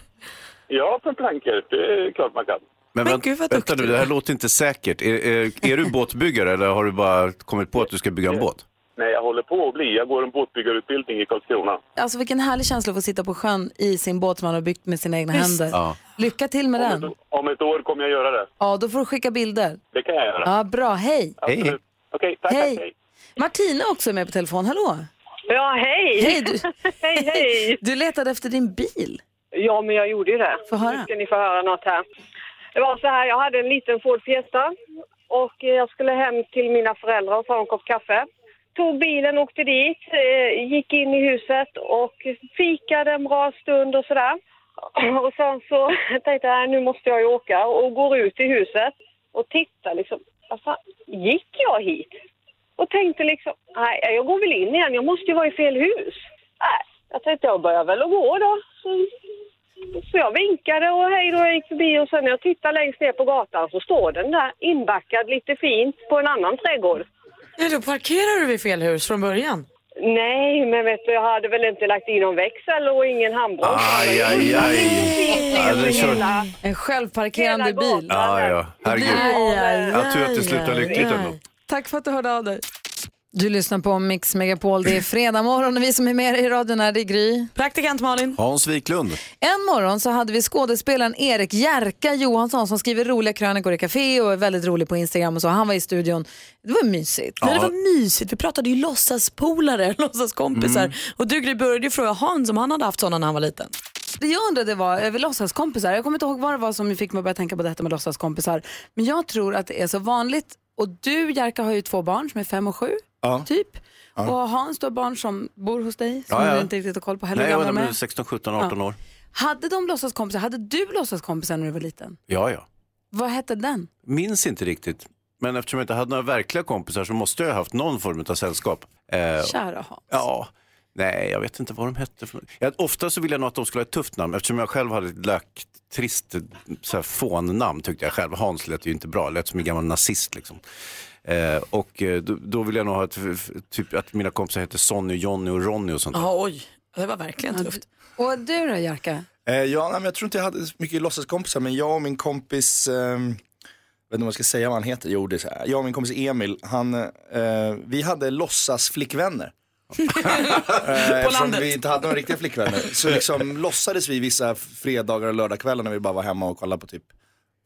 R: Ja, från plankor. Det är klart man kan.
F: Men, vänt, vänta nu, det här låter inte säkert. Är, är, är du båtbyggare eller har du bara kommit på att du ska bygga en båt?
R: Nej, jag håller på att bli. Jag går en båtbyggarutbildning i Karlskrona.
A: Alltså vilken härlig känsla att få sitta på sjön i sin båt som man har byggt med sina egna händer.
R: Ja.
A: Lycka till med den.
R: Om ett år kommer jag göra det.
A: Ja, då får du skicka bilder.
R: Det kan jag göra.
A: Ja, bra. Hej!
R: Absolut. Okej, tack,
A: Hej.
R: tack. Hej.
A: Martina också är med på telefon. Hallå!
M: Ja, hej!
A: Hej, du,
M: hej, hej!
A: Du letade efter din bil.
M: Ja, men jag gjorde ju det.
A: Få höra.
M: Nu ska ni få höra något här. Det var så här, jag hade en liten Ford Fiesta och eh, jag skulle hem till mina föräldrar och ta en kopp kaffe. Tog bilen, åkte dit, eh, gick in i huset och fikade en bra stund och sådär. Och sen så tänkte jag, "Nej, nu måste jag ju åka och går ut i huset och tittar liksom. Vad fan, gick jag hit? Och tänkte liksom, nej, jag går väl in igen, jag måste ju vara i fel hus. Nej, jag tänkte jag börjar väl att gå då. Så så jag vinkade och hej då, jag gick förbi och sen när jag tittar längst ner på gatan så står den där inbackad lite fint på en annan trädgård.
B: Nej, då parkerar du vid fel hus från början.
M: Nej, men vet du, jag hade väl inte lagt in någon växel och ingen handbroms.
F: Aj, aj, aj. Ja, det är så-
A: En självparkerande bil.
F: Ja, ja.
A: Aj, aj,
F: Herregud. Jag tror att det
A: aj,
F: slutar
A: aj,
F: lyckligt
A: aj.
F: ändå.
A: Tack för att du hörde av dig. Du lyssnar på Mix Megapol. Det är fredag morgon och vi som är med i radion är det är Gry.
B: Praktikant Malin.
F: Hans Wiklund.
A: En morgon så hade vi skådespelaren Erik Jerka Johansson som skriver roliga krönikor i café och är väldigt rolig på Instagram och så. Han var i studion. Det var mysigt.
B: Ja. Det var mysigt. Vi pratade ju låtsaspolare, låtsaskompisar.
A: Mm.
B: Och du Gry började ju fråga Hans om han hade haft sådana när han var liten.
A: Det jag undrade var över låtsaskompisar. Jag kommer inte ihåg vad det var som fick mig att börja tänka på detta med låtsaskompisar. Men jag tror att det är så vanligt. Och du Jerka har ju två barn som är fem och sju.
F: Ja.
A: Typ.
F: Ja.
A: Och Hans, du har barn som bor hos dig som
F: Ja, ja.
A: du inte riktigt har koll på heller.
F: Nej, jag
A: Hur
F: vet
A: gamla
F: inte, men
A: de är.
F: 16, 17, 18
A: Ja.
F: år.
A: Hade de låtsaskompisar? Hade du låtsaskompisar när du var liten?
F: Ja, ja.
A: Vad hette den?
F: Minns inte riktigt. Men eftersom jag inte hade några verkliga kompisar så måste jag ha haft någon form av sällskap. Eh,
A: Kära Hans.
F: Ja. Nej, jag vet inte vad de hette. För... något. Jag, ofta så ville jag nog att de skulle ha ett tufft namn eftersom jag själv hade ett lagt, trist så här, fånnamn tyckte jag själv. Hans lät ju inte bra, lät som en gammal nazist liksom. Eh, och eh, då, då vill jag nog ha ett, f- f- typ, att mina kompisar heter Sonny, Jonny och Ronny och sånt.
B: Ja, oj. Det var verkligen tufft.
A: Och du då, Jerka?
S: Eh, ja, nej, men jag tror inte jag hade så mycket låtsaskompisar, men jag och min kompis, eh, jag vet inte om jag ska säga vad han heter, jo det är så här. jag och min kompis Emil, han, eh, vi hade låtsasflickvänner. Eh, Eftersom
B: landet.
S: vi inte hade några riktiga flickvänner. Så liksom låtsades vi vissa fredagar och lördagskvällar när vi bara var hemma och kollade på typ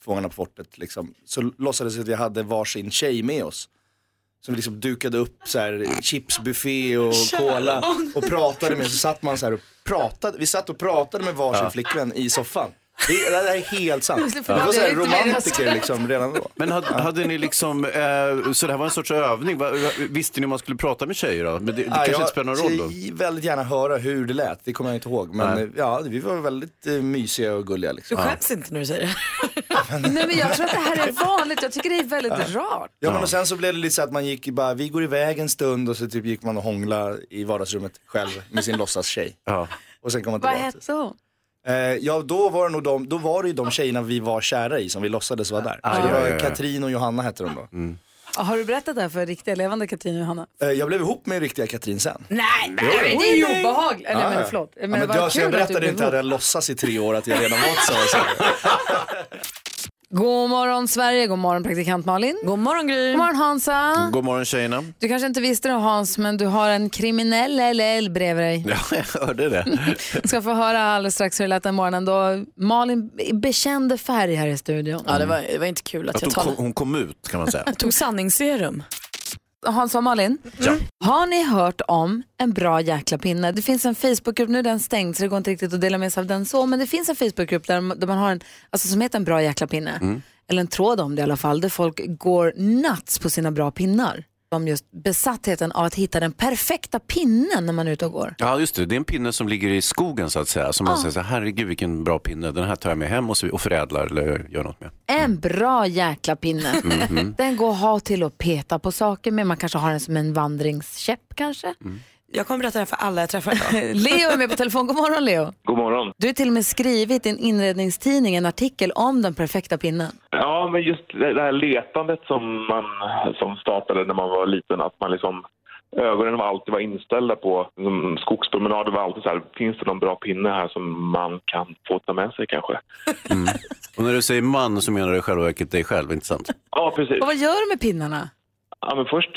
S: Fångarna på fortet. Liksom. Så låtsades vi att vi hade varsin tjej med oss. Som vi liksom dukade upp så här, chipsbuffé och
B: Kära
S: cola
B: barn.
S: och pratade med. Så satt man så här och pratade. Vi satt och pratade med varsin
F: Ja.
S: flickvän i soffan. Det, det här är helt sant. Vi
F: Det
S: var så här
F: är inte
S: romantiker
F: deras-
S: liksom redan då.
F: Men hade, hade ni liksom, eh, så det här var en sorts övning, va, va, visste ni om man skulle prata med tjejer då? Men det, det
S: Ja,
F: kanske
S: jag
F: inte spelar någon roll då?
S: vill väldigt gärna höra hur det lät, det kommer jag inte ihåg. Men
F: Nej.
S: eh, ja, vi var väldigt eh, mysiga och gulliga. Liksom.
B: Du skäms inte när du säger det.
A: Nej, men jag tror att det här är vanligt. Jag tycker det är väldigt
S: Ja.
A: rart.
S: Ja, men och sen så blev det lite så att man gick bara, vi går iväg en stund och så typ gick man och hånglade i vardagsrummet själv med sin låtsastjej. Och sen kom man
A: Vad
S: tillbaka.
A: hette hon?
S: Eh, ja, då var, det nog de, då var det ju de tjejerna vi var kära i som vi låtsades vara där.
A: Ah,
S: det
A: ja,
S: var
A: ja, ja.
S: Katrin och Johanna hette de då.
F: Mm.
A: Ja, Har du berättat det här för riktiga levande Katrin och Johanna?
S: Eh, jag blev ihop med riktiga Katrin sen. Ah,
B: Nej,
A: men det är ju obehagligt. Eller,
S: Ja,
A: men
S: ja.
A: förlåt.
S: Ja,
A: Men
S: men
A: vad
S: jag, så
A: kul
S: jag
A: att du
S: berättade
A: blev
S: inte att jag låtsas i tre år att jag redan var så. så.
A: God morgon Sverige, god morgon praktikant Malin. God morgon Gry. God morgon Hansa.
F: God morgon tjejerna.
A: Du kanske inte visste det Hans, men du har en kriminell LL bredvid dig.
F: Ja, jag hörde det.
A: Du ska få höra alldeles strax hur det lät den morgonen då Malin be- bekände färg här i studion.
B: Ja, det var, det var inte kul att,
F: Att
B: jag
F: hon,
B: talade.
F: kom, hon kom ut kan man säga.
B: Jag tog sanningsserum.
A: Hans och Malin,
F: Ja.
A: har ni hört om en bra jäkla pinne? Det finns en Facebookgrupp, nu är den stängd så det går inte riktigt att dela med sig av den så, men det finns en Facebookgrupp där, där man har en, alltså, som heter en bra jäkla pinne. Eller en tråd om det i alla fall, där folk går nuts på sina bra pinnar. Om just besattheten av att hitta den perfekta pinnen när man är ute och går.
F: Ja, just det. Det är en pinne som ligger i skogen så att säga. Som man
B: Ah.
A: Ja.
F: säger så här, herregud vilken bra pinne. Den här tar jag med hem och, så, och förädlar eller gör något med.
A: En bra jäkla pinne.
F: Mhm.
A: Den går att ha till att peta på saker med. Man kanske har den som en vandringskäpp kanske.
B: Jag kommer berätta det här för alla jag träffar idag.
A: Leo är med på telefon. God morgon Leo.
T: God morgon.
A: Du har till och med skrivit i en inredningstidning en artikel om den perfekta pinnen.
T: Ja, men just det det här letandet som man som startade när man var liten, att man liksom ögonen var alltid var inställda på liksom, skogspromenader var alltid så här, finns det någon bra pinne här som man kan få ta med sig kanske?
F: Och när du säger man så menar du i själva verket dig själv, inte sant?
T: Ja, precis.
A: Och vad gör du med pinnarna?
T: Ja, men först,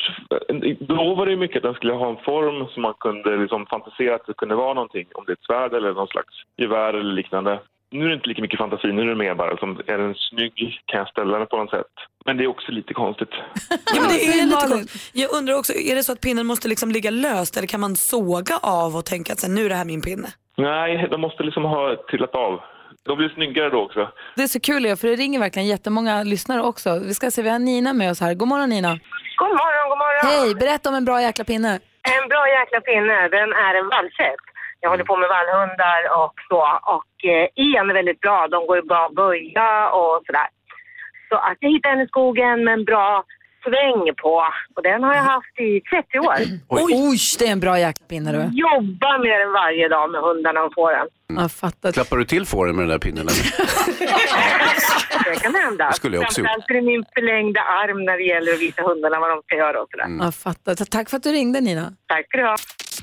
T: då var det ju mycket att den skulle ha en form som man kunde liksom fantisera att det kunde vara någonting, om det är ett svärd eller någon slags gevär eller liknande. Nu är det inte lika mycket fantasi, nu är det mer bara liksom, är den snygg, kan jag ställa den på något sätt? Men det är också lite konstigt.
B: Ja, men det är lite konstigt. Jag undrar också, är det så att pinnen måste liksom ligga löst eller kan man såga av och tänka att så här, nu är det här min pinne?
T: Nej, de måste liksom ha trillat av. De blir snyggare då också.
A: Det är så kul Leo, för det ringer verkligen jättemånga lyssnare också. Vi ska se, vi har Nina med oss här. God morgon Nina.
M: God morgon, god morgon.
A: Hej, berätta om en bra jäkla pinne.
M: En bra jäkla pinne, den är en vallkäpp. Jag håller på med vallhundar och så. Och eh, Ian är väldigt bra. De går ju bra att böja och sådär. Så att jag hittade en i skogen med en bra sväng på. Och den har jag haft i 30 år.
A: Oj, det är en bra jäkla pinne du.
M: Jobbar med den varje dag med hundarna och fåren.
A: Jag fattar.
F: Klappar du till fåren med den där pinnen? eller?
M: Det kan hända.
F: Det skulle jag också gjort.
M: Framförallt är det min förlängda arm när det gäller att visa hundarna vad de ska göra och sådär.
A: Jag fattar. Ta- Tack för att du ringde Nina.
M: Tack ska du ha.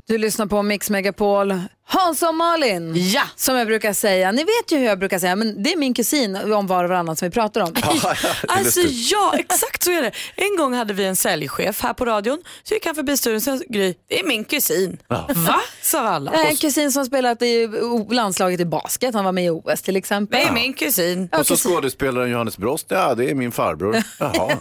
A: Du lyssnar på Mix Megapol. Hans och Malin, ja. som jag brukar säga. Ni vet ju hur jag brukar säga, men det är min kusin om var och varannan som vi pratar om.
B: Alltså ja, exakt så är det. En gång hade vi en säljchef här på radion, så gick han förbi studion och sa Gry, det är min kusin. Va? Sa alla.
A: Nej, En kusin som spelat i o- landslaget i basket, han var med i OS till exempel.
B: Det är min kusin.
F: Och så skådespelaren Johannes Brost, ja det är min farbror. Jaha.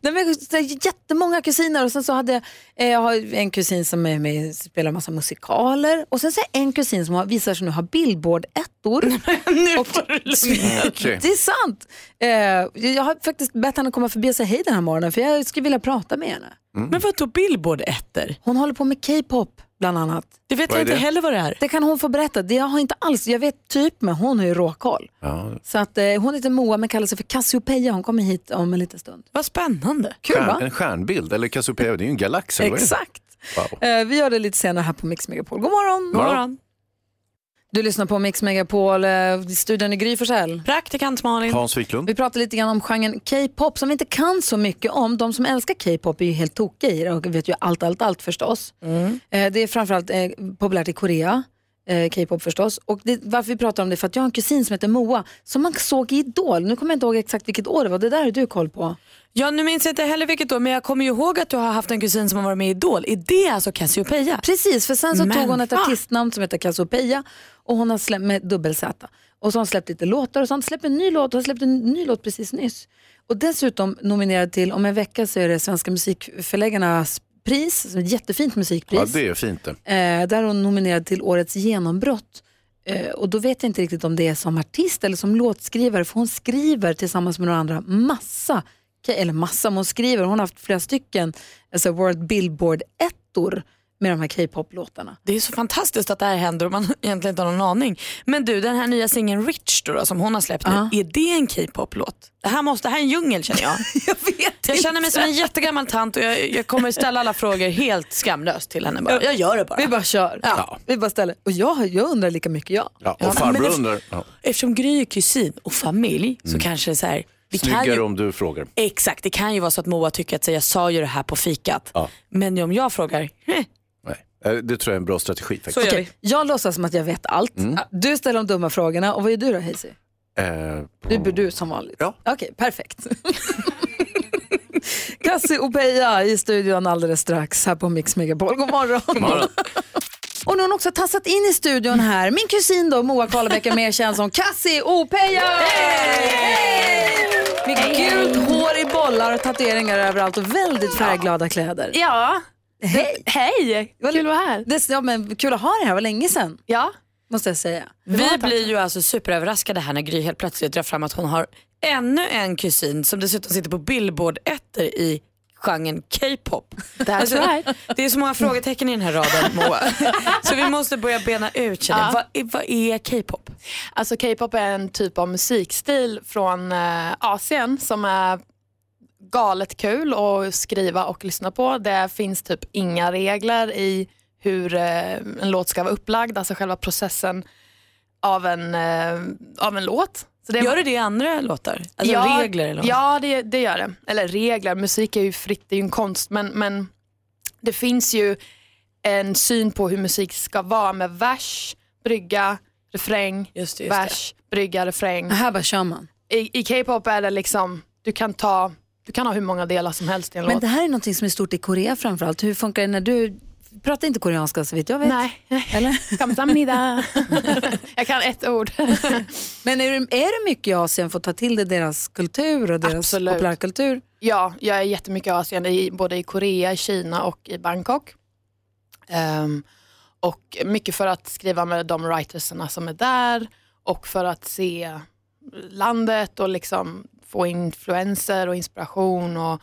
A: Nej, men så här, jättemånga kusiner och sen så hade jag, eh, jag har en kusin som är med, spelar massa musikaler och sen så är jag en kusin som har, visar sig nu ha billboard-ettor.
F: Mm,
A: och,
F: okej.
A: det är sant. Eh, jag har faktiskt bett henne komma förbi och säga hej den här morgonen för jag skulle vilja prata med henne.
B: Men vad tog billboard ettor?
A: Hon håller på med K-pop bland annat.
B: Det vet Vad jag är inte det? heller vad det är.
A: Det kan hon få berätta. Det jag har inte alls, jag vet typ men hon har ju råkoll.
F: Ja.
A: Så att, eh, hon heter Moa men kallar sig för Cassiopeia. Hon kommer hit om en liten stund.
B: Vad spännande.
A: Kul
F: Stjärn-
A: va?
F: En stjärnbild, eller Cassiopeia, det är ju en galax. eller vad är det?
A: Exakt.
F: Wow.
A: Eh, vi gör det lite senare här på Mix Megapol. God morgon!
F: God morgon.
A: Du lyssnar på Mix Megapol, eh, studion i Gry Forssell.
B: Praktikant Malin.
F: Hans Wiklund.
A: Vi pratar lite grann om genren K-pop som vi inte kan så mycket om. De som älskar K-pop är ju helt tokiga i det och vet ju allt, allt, allt förstås. Eh, Det är framförallt eh, populärt i Korea, eh, K-pop förstås. Och det, varför vi pratar om det är för att jag har en kusin som heter Moa som man såg i Idol. Nu kommer jag inte ihåg exakt vilket år det var, det där har du koll på.
B: Ja, nu minns jag inte heller vilket år, men jag kommer ju ihåg att du har haft en kusin som har varit med i Idol. Är det alltså Cassiopeia?
A: Precis, för sen så
B: Men
A: tog hon ett
B: fan.
A: artistnamn som heter Cassiopeia och hon har släppt med dubbel Z. Och så har hon släppt lite låtar och så har hon släppt en ny låt och har släppt en ny låt precis nyss. Och dessutom nominerad till, om en vecka så är det Svenska musikförläggarnas pris, så ett jättefint musikpris.
F: Ja, det är fint det.
A: Eh, där är hon nominerad till årets genombrott. Eh, och då vet jag inte riktigt om det är som artist eller som låtskrivare, för hon skriver tillsammans med några andra massa, eller massa, men hon skriver, hon har haft flera stycken alltså World Billboard-ettor med de här K-pop-låtarna.
B: Det är så fantastiskt att det här händer och man egentligen inte har någon aning. Men du, den här nya singeln Rich då, då, som hon har släppt nu, är det en K-pop-låt? Det här, måste, det här är en djungel känner jag. jag vet Jag känner mig som en jättegammal tant och jag, jag kommer ställa alla frågor helt skamlöst till henne. Bara. Jag gör det bara.
A: Vi bara kör.
B: Ja.
A: Vi bara ställer. Och jag, jag undrar lika mycket jag.
F: Ja,
B: Ja,
F: och farbror
B: men det-
F: undrar. Ja.
B: Eftersom Gry är kusin och familj så
F: Mm.
B: kanske det är så här. Vi kan
F: Snyggare
B: ju,
F: om du frågar.
B: Exakt, det kan ju vara så att Moa tycker att så, jag sa ju det här på fikat.
F: Ja.
B: Men om jag frågar, "Heh,
F: Eh, Det tror jag är en bra strategi faktiskt.
A: Okej, Jag låtsas som att jag vet allt.
F: Mm.
A: Du ställer de dumma frågorna och vad gör du då Hazy?
F: Eh,
A: Du blir du som vanligt. Okej, perfekt. Kassi Opeya i studion alldeles strax här på Mix Megapol. God morgon. Och nu har hon också tassat in i studion här. Min kusin då, Moa Karlebäck, är mer känd som Kassi Opeya! Med gult hår i bollar och tatueringar överallt och väldigt färgglada kläder.
U: Ja.
A: Hej!
U: Hej!
A: Kul att vara här. Det, ja, men kul att ha dig här, det var länge sedan.
U: Ja.
A: Måste jag säga.
B: Vi blir ju alltså superöverraskade här när Gry helt plötsligt drar fram att hon har ännu en kusin som dessutom sitter på billboard ettor i genren K-pop.
U: right.
B: Alltså, Det är så många frågetecken i den här raden Moa. så vi måste börja bena ut känner jag.
U: Ja.
B: vad, är- vad är K-pop?
U: Alltså K-pop är en typ av musikstil från eh, Asien som är galet kul att skriva och lyssna på. Det finns typ inga regler i hur eh, en låt ska vara upplagd, alltså själva processen av en, eh, av en låt. Så
B: Gör det det i andra låtar? Alltså regler eller något?
U: Ja, det, det gör det. Eller regler, musik är ju fritt, det är ju en konst, men, men det finns ju en syn på hur musik ska vara med vers, brygga, refräng,
B: just det.
U: vers, brygga, refräng.
A: Här bara kör man.
U: I, i K-pop är det liksom, du kan, ta, du kan ha hur många delar som helst i en
A: Men
U: låt.
A: det här är något som är stort i Korea framförallt. Hur funkar det när du pratar inte koreanska så vitt jag vet?
U: Nej.
A: Eller?
U: Kamsahamnida. jag kan ett ord.
A: Men är det, är det mycket i Asien för att ta till dig deras kultur och deras
U: Absolut.
A: populärkultur?
U: Ja, jag är jättemycket i Asien, i, både i Korea, i Kina och i Bangkok. Ehm, och mycket för att skriva med de writerserna som är där och för att se landet och liksom få influenser och inspiration. Och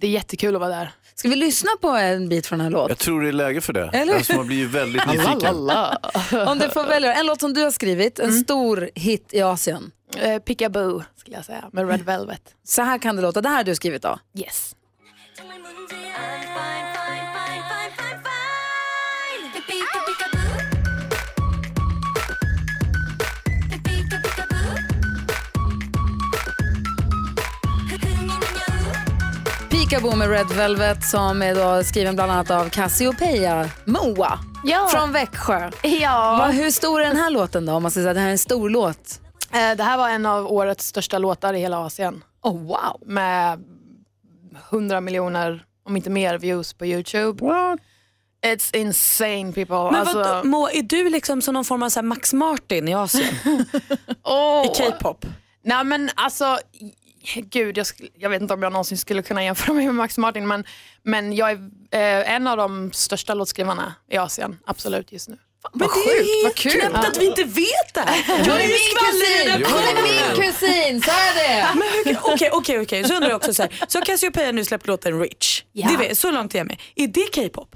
U: det är jättekul att vara där.
A: Ska vi lyssna på en bit från den här låten?
F: Jag tror det är läge för det.
A: Eller?
F: Alltså, man blir ju väldigt nyfiken.
A: Om du får välja en låt som du har skrivit, en stor hit i Asien.
U: Uh, Pickaboo Mm. skulle jag säga, med Red Velvet.
A: Så här kan det låta, det här har du skrivit då?
U: Yes.
A: Peekaboo med Red Velvet som är då skriven bland annat av Cassiopeia Moa
U: Ja.
A: från Växjö.
U: Ja.
A: Vad- hur stor är den här låten då? Om man ska säga att det här är en stor låt.
U: Eh, Det här var en av årets största låtar i hela Asien.
A: Oh, wow.
U: Med 100 miljoner, om inte mer, views på YouTube.
F: What?
U: It's insane people.
B: Men
U: alltså,
B: vadå, Moa, är du liksom som någon form av så här Max Martin i Asien?
U: Åh.
B: I K-pop?
U: Nej men alltså, gud jag, skulle, jag vet inte om jag någonsin skulle kunna jämföra mig med Max Martin men, men jag är eh, en av de största låtskrivarna i Asien, absolut just nu.
A: Men det är ju
U: helt
B: knäppt att vi inte vet det här. Jag är ju skvaller i den
A: Hon är min kusin, så är det!
B: Men hur- Okej, okej, okej. Så undrar jag också så här. Så Cassiopeia nu släppt låten Rich.
U: Ja.
B: Det vet, så långt är jag med. Är det K-pop?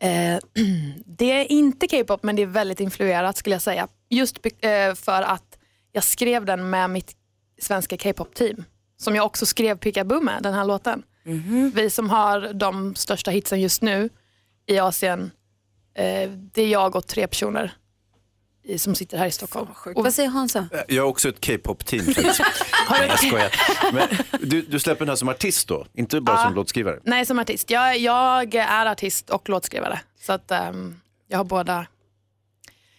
U: Eh, det är inte K-pop men det är väldigt influerat skulle jag säga. Just be- eh, för att jag skrev den med mitt svenska K-pop-team. Som jag också skrev Pickaboo med, den här låten.
A: Mhm.
U: Vi som har de största hitsen just nu i Asien, eh, det är jag och tre personer i, som sitter här i Stockholm.
A: Och vad säger Hansa?
F: Eh, Jag har också ett K-pop-team. faktiskt. Nej, jag skojar. Men du, du släpper den här som artist då, inte bara
U: Ja.
F: som låtskrivare?
U: Nej, som artist. Jag, jag är artist och låtskrivare. Så att, ehm, jag har båda,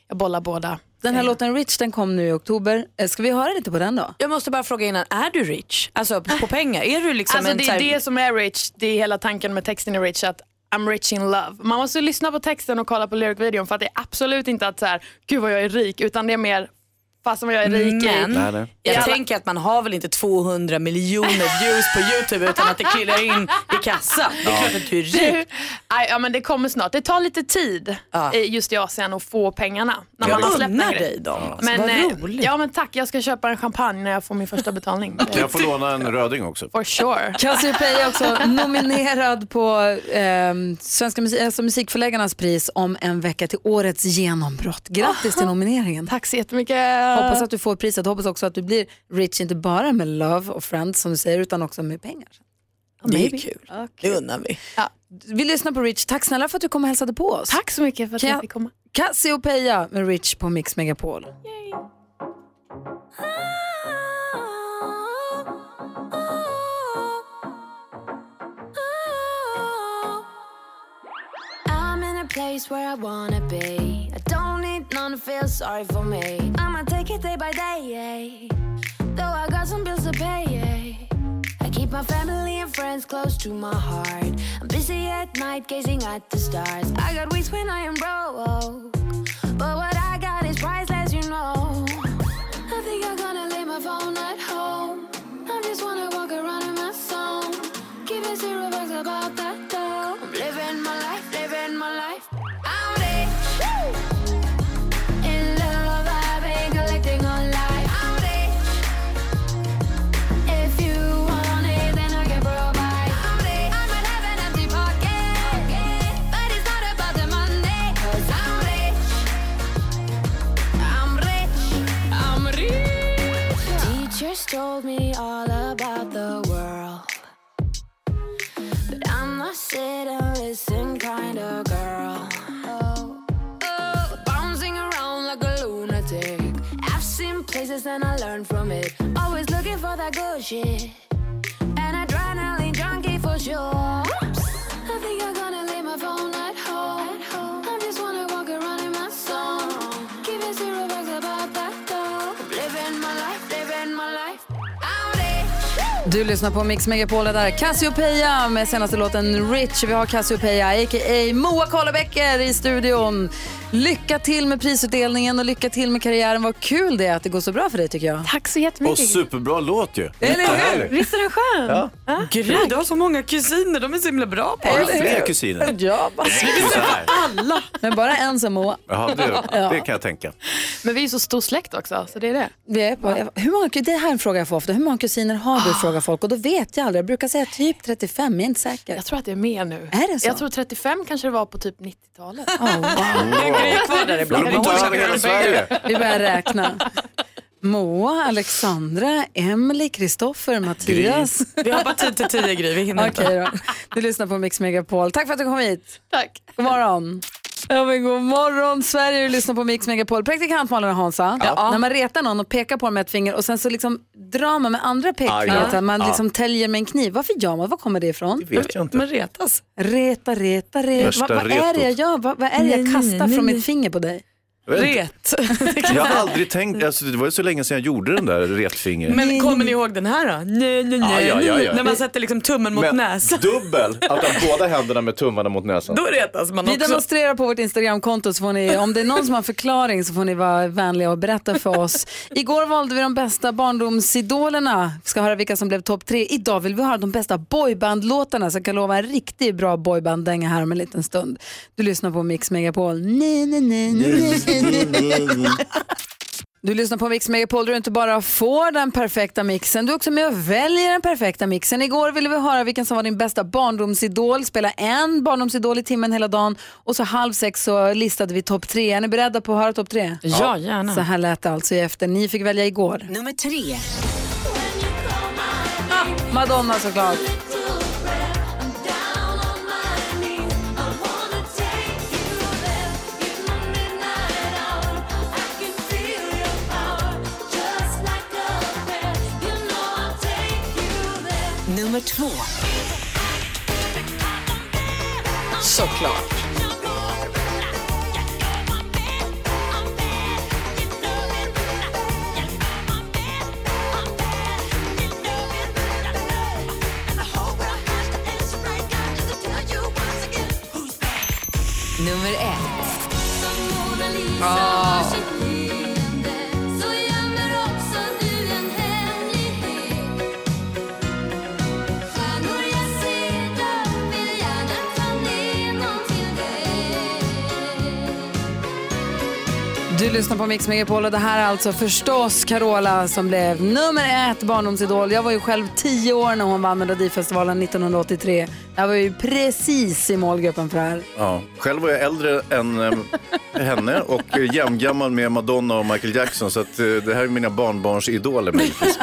U: jag bollar båda. Eh.
A: Den här låten Rich den kom nu i oktober. Eh, Ska vi höra lite på den då?
B: Jag måste bara fråga innan, är du rich? Alltså på pengar? Är du liksom
U: Alltså
B: en
U: det
B: så
U: är
B: här-
U: det som är rich, det är hela tanken med texten i rich, att I'm rich in love. Man måste lyssna på texten och kolla på lyricvideon för att det är absolut inte att så här, gud vad jag är rik, utan det är mer, fast vad jag är rik i.
B: Men jag
U: I alla-
B: tänker att man har väl inte 200 miljoner views på YouTube utan att det klirrar in i kassan. Det är
U: Ja.
B: klart att du är
U: Du,
B: rik.
U: aj, ja, men det kommer snart. Det tar lite tid eh, just i Asien att få pengarna. När
B: Jag
U: man har släppt
B: unnar
U: en grej.
B: dig dem, alltså. Vad
U: eh, Ja men tack, jag ska köpa en champagne när jag får min första betalning.
F: Kan jag få låna en röding också?
U: For sure.
A: Cassiopeia är också nominerad på ehm, Svenska musik, alltså musikförläggarnas pris om en vecka till årets genombrott. Grattis till nomineringen.
U: Tack så jättemycket.
A: Hoppas att du får priset. Hoppas också att du blir rich, inte bara med love och friends som du säger, utan också med pengar.
B: Det är
A: Maybe.
B: kul. Det unnar vi.
A: Vi lyssnar på Rich. Tack snälla för att du kom och hälsade på oss.
U: Tack så mycket för att jag fick komma.
A: Cassiopeia med Rich på Mix Megapol.
N: Oh, oh. I'm in a place where I wanna be. I don't need none to feel sorry for me. I'ma take it day by day. Though I got some bills to pay. I keep my family and friends close to my heart. I'm busy at night gazing at the stars. I got weeks when I am broke. But what I got is priceless, you know. I think I'm gonna leave my phone at home. I just wanna walk around in my song. Keep it zero bucks about that though. I'm living my life, living my life. I'm rich. In love, I've been collecting online. I'm rich. If you want it, then I can provide. I'm rich. I might have an empty pocket, but it's not about the money. Cause I'm rich. I'm rich. I'm rich. Teachers told me all about the world. But I'm a sit and listen kind of girl. Oh, oh, bouncing around like a lunatic. I've seen places and I learned from it. Always looking for that good shit. An adrenaline junkie for sure. I think I'm gonna leave my phone at home. I just wanna walk around in my song. Keep it zero bucks about that though. Living my life, living my life. I'm rich.
A: Du lyssnar på Mix Megapol det där. Cassiopeia med senaste låten Rich. Vi har Cassiopeia, a.k.a. Moa Karlabäcker i studion. Lycka till med prisutdelningen och lycka till med karriären. Vad kul det är att det går så bra för dig tycker jag.
U: Tack så
F: Och superbra låt ju.
A: Eller hur?
F: Jättehärlig.
A: Visst är den skön?
F: Ja.
B: Gry, du har så många kusiner. De är så himla bra på
F: Har du
B: det.
F: fler kusiner?
A: Ja, bara.
F: Det är så här.
A: Alla. Men bara en som Moa.
F: Jaha, det,
A: Ja.
F: det kan jag
B: Eh,
F: tänka.
U: Men vi är så stor släkt också, så det är det.
A: Vi är på, hur många, det här är en fråga jag får ofta. Hur många kusiner har
U: Ah.
A: du? Frågar folk. Och då vet jag aldrig. Jag brukar säga typ 35, jag är inte säker. Jag
U: tror att det är mer nu.
A: Är det så?
U: Jag tror 35 kanske det var på typ 90-talet.
A: Oh, Vi börjar räkna. Moa, Alexandra, Emily, Kristoffer, Mattias.
B: Vi har bara tid till tio, Gry. Vi hinner inte.
A: Okej då. Du lyssnar på Mix Megapol. Tack för att du kom hit.
U: Tack.
A: God morgon. Ja, men god morgon Sverige, du lyssnar på Mix Megapol. Praktikant Malin och Hansa,
B: Ja.
A: när man retar någon och pekar på dem med ett finger och sen så liksom drar man med andra
B: Aj,
A: pekfingret,
B: ja.
A: att man
B: Ja.
A: liksom täljer med en kniv. Varför gör man? Var kommer det ifrån?
B: Det vet jag inte. Man
A: retas. Reta, reta, reta.
F: Värsta
A: Vad är det
F: retot.
A: jag gör? Vad vad är det
B: Nej,
A: jag
B: nej,
A: kastar
B: nej,
A: från
B: nej.
A: mitt finger på dig?
F: Jag vet inte. Jag har aldrig tänkt, alltså, det var ju så länge sedan jag gjorde den där retfingret.
B: Men kommer ni ihåg den här då? Nej, nej,
F: Ja,
B: nej.
F: ja, ja, ja.
B: När man sätter liksom tummen mot näsan.
V: dubbel, att ha båda händerna med tummarna mot näsan.
B: Då retas man
A: Vi
B: också.
A: demonstrerar på vårt Instagramkonto så får ni, om det är någon som har en förklaring så får ni vara vänliga och berätta för oss. Igår valde vi de bästa barndomsidolerna. Vi ska höra vilka som blev topp tre. Idag vill vi höra de bästa boybandlåtarna så jag kan lova en riktigt bra boybanddänga här om en liten stund. Du lyssnar på Mix Megapol. Nej, nej, nej, nej, nej, nej, nej. Du lyssnar på Mix Megapol där du inte bara får den perfekta mixen, du är också med och väljer den perfekta mixen. Igår ville vi höra vilken som var din bästa barndomsidol, spela en barndomsidol i timmen hela dagen och så halv sex så listade vi topp tre. Är ni beredda på att höra topp tre?
B: Ja, Ja. gärna.
A: Så här lät det alltså i efter. Ni fick välja igår.
K: Nummer tre.
A: Ah, Madonna såklart.
K: nummer två.
B: Såklart.
K: Nummer ett.
P: Ja.
A: Du lyssnar på Mix Megapol och det här är alltså förstås Carola som blev nummer ett barndomsidol. Jag var ju själv tio år när hon vann Melodifestivalen 1983. Jag var ju precis i målgruppen för det här.
W: Ja. Själv var jag äldre än eh, henne och eh, jämngammal med Madonna och Michael Jackson. Så att, eh, det här är mina barnbarns idoler. möjligtvis.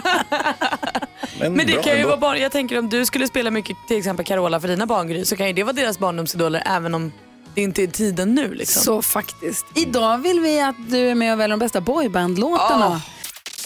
B: Men det
W: bra
B: kan ju
W: ändå.
B: vara barn, jag tänker om du skulle spela mycket till exempel Carola för dina barn Gry, så kan ju det vara deras barndomsidoler även om det inte är tiden nu. Liksom.
A: Så faktiskt. Idag vill vi att du är med och väljer de bästa boybandlåtarna.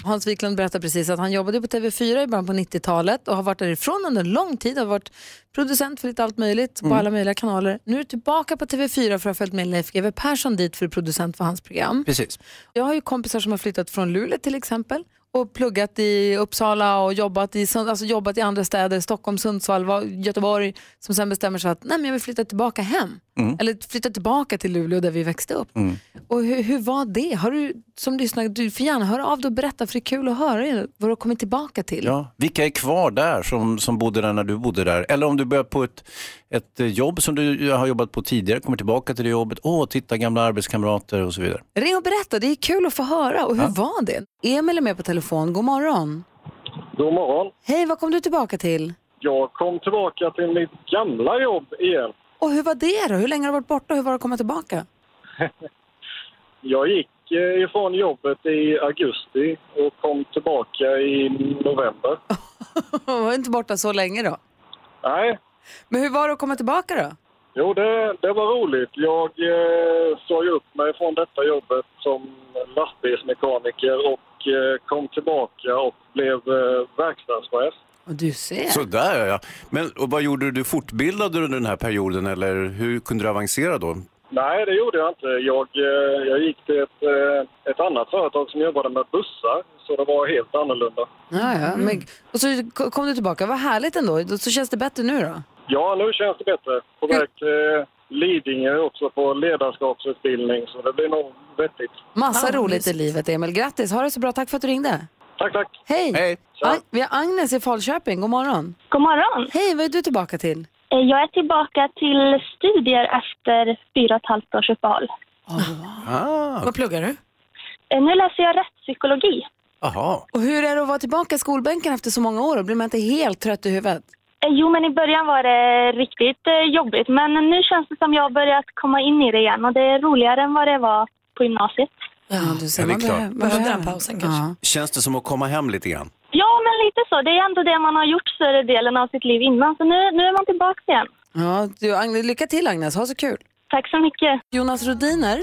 A: Hans Wiklund berättade precis att han jobbade på TV4 i början på 90-talet och har varit därifrån under lång tid. Har varit producent för lite allt möjligt på
B: Mm.
A: alla möjliga kanaler. Nu är du tillbaka på TV4 för att ha följt med Leif GW Persson dit för att producent för hans program.
F: Precis.
A: Jag har ju kompisar som har flyttat från Luleå till exempel och pluggat i Uppsala och jobbat i, Sund- alltså jobbat i andra städer, Stockholm, Sundsvall, Va- Göteborg, som sen bestämmer sig att nej, men jag vill flytta tillbaka hem.
F: Mm.
A: Eller flytta tillbaka till Luleå där vi växte upp.
F: Mm.
A: Och hur, hur var det? Har du som lyssnar, du får gärna höra av dig och berätta för det är kul att höra er, vad du har kommit tillbaka till.
F: Ja, vilka är kvar där som, som bodde där när du bodde där? Eller om du börjar på ett, ett eh, jobb som du har jobbat på tidigare, kommer tillbaka till det jobbet. Åh, titta gamla arbetskamrater och så vidare.
A: Ring och berätta, det är kul att få höra. Och hur
F: Ja.
A: var det? Emil är med på telefon, god morgon.
X: God morgon.
A: Hej, vad kom du tillbaka till?
X: Jag kom tillbaka till mitt gamla jobb igen.
A: Och hur var det då? Hur länge har du varit borta och hur var det att komma tillbaka?
X: Jag gick eh, ifrån jobbet i augusti och kom tillbaka i november.
A: var inte borta så länge då.
X: Nej,
A: Men hur var det att komma tillbaka då?
X: jo det, det var roligt. Jag eh, sa ju upp mig från detta jobbet som lastbilsmekaniker och eh, kom tillbaka och blev eh, verkstadschef.
A: Och du ser.
W: Sådär ja. Men och vad gjorde du? Du fortbildade du under den här perioden eller hur kunde du avancera då?
X: Nej, det gjorde jag inte. Jag, eh, jag gick till ett, eh, ett annat företag som jobbade med bussar, så det var helt annorlunda.
A: Ja, ja. Men, Mm. och så ko- kom du tillbaka, vad härligt ändå. Då- Så känns det bättre nu då?
X: Ja, nu känns det bättre. På väg till Lidingö också på ledarskapsutbildning, så det blir nog vettigt.
A: Massa roligt i livet Emil. Grattis, ha det så bra. Tack för att du ringde.
X: Tack, tack.
A: Hej!
X: Hej.
A: Ag- vi har Agnes i Falköping, god morgon.
G: God morgon.
A: Hej, vad är du tillbaka till?
G: Eh, Jag är tillbaka till studier efter fyra och ett halvt års uppehåll.
B: Vad pluggar du?
G: Eh, Nu läser jag rättspsykologi.
F: Aha.
A: Och hur är det att vara tillbaka i skolbänken efter så många år? Blir man inte helt trött i huvudet?
G: Eh, Jo, men i början var det riktigt eh, jobbigt. Men nu känns det som jag har börjat komma in i det igen och det är roligare än vad det var på gymnasiet.
A: Ja, du
F: Mm. Ja, det är klart.
B: Behövde den pausen kanske?
F: Känns det som att komma hem lite grann?
G: Ja, men lite så. Det är ändå det man har gjort större delen av sitt liv innan. Så nu, nu är man tillbaka igen.
A: Ja, du, Agnes, lycka till Agnes, ha så kul.
G: Tack så mycket.
A: Jonas Rodiner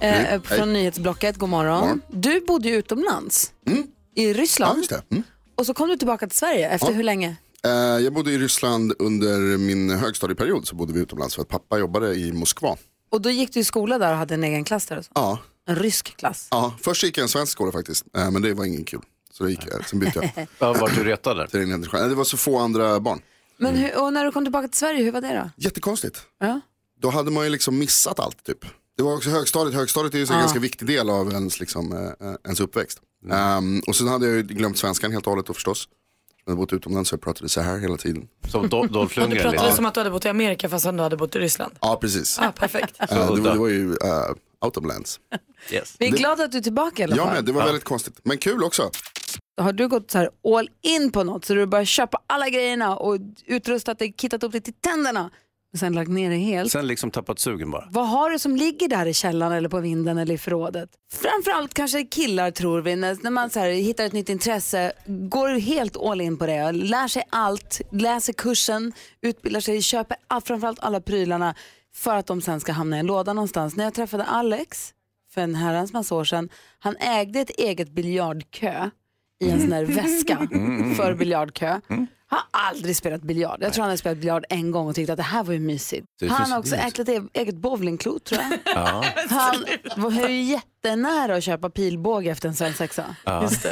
A: eh,
G: Mm,
A: från
G: hej.
A: Nyhetsblocket, god morgon. Du bodde ju utomlands, i Ryssland. Och så kom du tillbaka till Sverige, efter hur länge?
I: Eh, Jag bodde i Ryssland under min högstadieperiod så bodde vi utomlands för att pappa jobbade i Moskva.
A: Och då gick du i skola där och hade en egen klass där och så.
I: Ja,
A: En rysk klass.
I: ja först gick jag i en svensk skola faktiskt, eh, men det var ingen kul. Så det gick jag, sen bytte jag.
F: Vart du retade?
I: Till en engelsk- Nej, Det var så få andra barn.
A: Men hur, och när du kom tillbaka till Sverige, hur var det då?
I: Jättekonstigt.
A: Ja.
I: Då hade man ju liksom missat allt typ. Det var också högstadiet, högstadiet är ju så en
A: Ja.
I: ganska viktig del av ens, liksom, eh, ens uppväxt. Ehm, och sen hade jag ju glömt svenskan helt och hållet då förstås. Jag hade bott utomlands så jag pratade så här hela tiden.
F: Som Dolph
B: Ja, du pratade
I: Ja,
B: som att du hade bott i Amerika fast du hade bott i Ryssland.
I: ja precis.
B: Ah, perfekt.
I: Eh, det, var, det var ju uh, utomlands.
A: Vi är
I: Det-
A: glada att du är tillbaka i alla
I: Ja
A: fall.
I: men det var väldigt konstigt. Men kul också.
A: Har du gått så här all in på något så du bara köpa alla grejerna och utrustat dig, kittat upp det till tänderna och sen lagt ner det helt?
F: Sen liksom tappat sugen bara.
A: Vad har du som ligger där i källaren eller på vinden eller i förrådet? Framförallt kanske killar tror vi, när, när man så här, hittar ett nytt intresse, går helt all in på det, lär sig allt, läser kursen, utbildar sig, köper all, framförallt alla prylarna för att de sen ska hamna i en låda någonstans. När jag träffade Alex för en herrans massa år sedan, han ägde ett eget biljardkö i en sån där väska
D: Mm, mm,
A: för
D: mm.
A: biljardkö. Har aldrig spelat biljard. Jag tror han har spelat biljard en gång och tyckte att det här var ju mysigt.
D: Det
A: han
D: finns-
A: har också
D: det är
A: ägt ett e- eget bowlingklot tror jag.
D: Ja.
A: Han var ju jättenära att köpa pilbåge efter en svensexa.
D: Ja. Just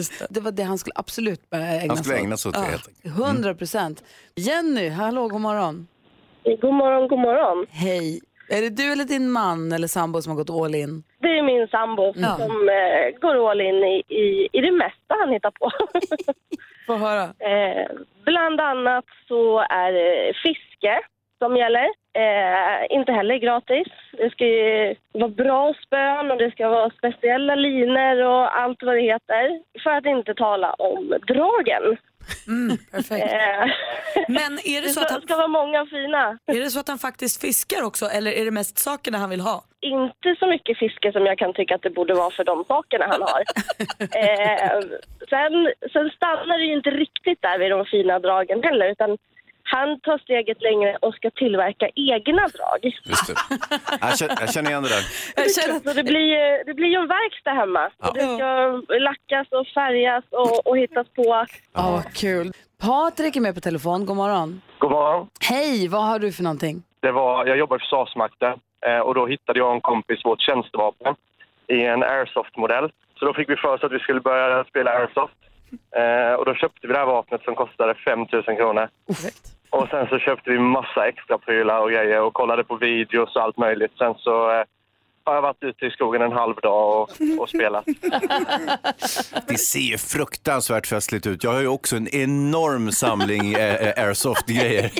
A: det, det var det han skulle absolut börja ägna sig åt.
D: Han skulle ägna sig åt det,
A: Ja,
D: helt enkelt.
A: 100 procent. Jenny, hallå, god morgon.
G: God morgon, god morgon.
A: Hej. Är det du eller din man eller sambo som har gått all in?
G: Det är min sambo
A: Mm. Ja.
G: som eh, går all in i, i, i det mesta han hittar på.
A: Få höra.
G: Eh, bland annat så är det fiske som gäller. Eh, inte heller gratis. Det ska ju vara bra spön och det ska vara speciella linor och allt vad det heter. För att inte tala om dragen.
B: Perfekt.
G: Eh,
B: Men är det så att han...
G: ska vara många fina.
B: Är det så att han faktiskt fiskar också eller är det mest sakerna han vill ha?
G: inte så mycket fiske som jag kan tycka att det borde vara för de sakerna han har. eh, sen, sen stannar det ju inte riktigt där vid de fina dragen heller utan han tar steget längre och ska tillverka egna drag.
F: Just det. Jag känner, jag känner igen det där.
G: Så det blir ju det blir ju en verkstad hemma.
F: Ja.
G: Och det ska lackas och färgas och, och hittas på.
A: Ja, Ah, vad kul. Patrik är med på telefon, god morgon.
L: God morgon.
A: Hej, vad har du för någonting?
L: Det var, jag jobbar i Försvarsmakten eh, och då hittade jag och en kompis vårt tjänstevapen i en airsoft-modell. Så då fick vi för oss att vi skulle börja spela airsoft. Eh, och då köpte vi det här vapnet som kostade 5 000 kronor. Och sen så köpte vi massa extra prylar och grejer och kollade på videos och allt möjligt. Sen så eh, har jag varit ute i skogen en halv dag och, och spelat.
F: Det ser ju fruktansvärt festligt ut. Jag har ju också en enorm samling eh, eh, airsoft-grejer.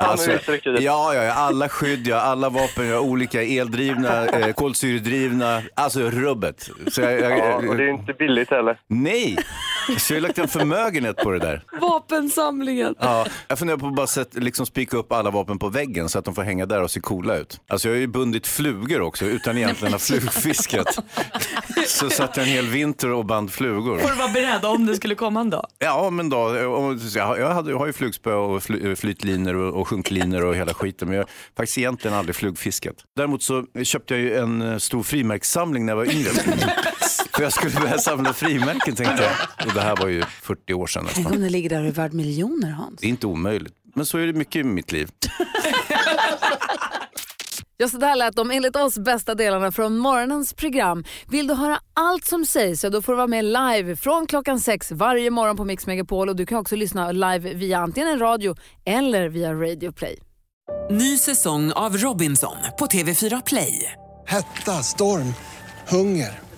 F: Alltså, ja, ja, ja, alla skydd, ja, alla vapen, ja, olika eldrivna, eh, kolsyredrivna, alltså rubbet. Så jag, jag,
L: Ja, och det är ju
F: inte
L: billigt heller.
F: Nej, så jag har lagt en förmögenhet på det där.
A: Vapensamlingen.
F: Ja, jag funderar på att bara sätt, liksom spika upp alla vapen på väggen så att de får hänga där och se coola ut. Alltså jag har ju bundit flugor också utan egentligen ha flugfiskat. Så satt jag en hel vinter och band flugor.
B: Får du vara beredd om det skulle komma en dag?
F: Ja, men då, och- jag har- jag hade, jag har ju flugspö och fly, flytlinor och, och sjunklinor och hela skiten, men jag har faktiskt egentligen aldrig flugfiskat. Däremot så köpte jag ju en eh, stor frimärkssamling när jag var yngre. För jag skulle börja samla frimärken tänkte jag. Och det här var ju 40 år sedan
A: Tänk
F: nästan.
A: om det ligger där och är värd miljoner, Hans.
F: Det är inte omöjligt. Men så är det mycket i mitt liv.
D: Ja, så där lät de enligt oss bästa delarna från morgonens program. Vill du höra allt som sägs så då får du vara med live från klockan sex varje morgon på Mix Megapol och du kan också lyssna live via antingen en radio eller via Radio Play.
Y: Ny säsong av Robinson på TV4 Play.
Z: Hetta, storm, hunger.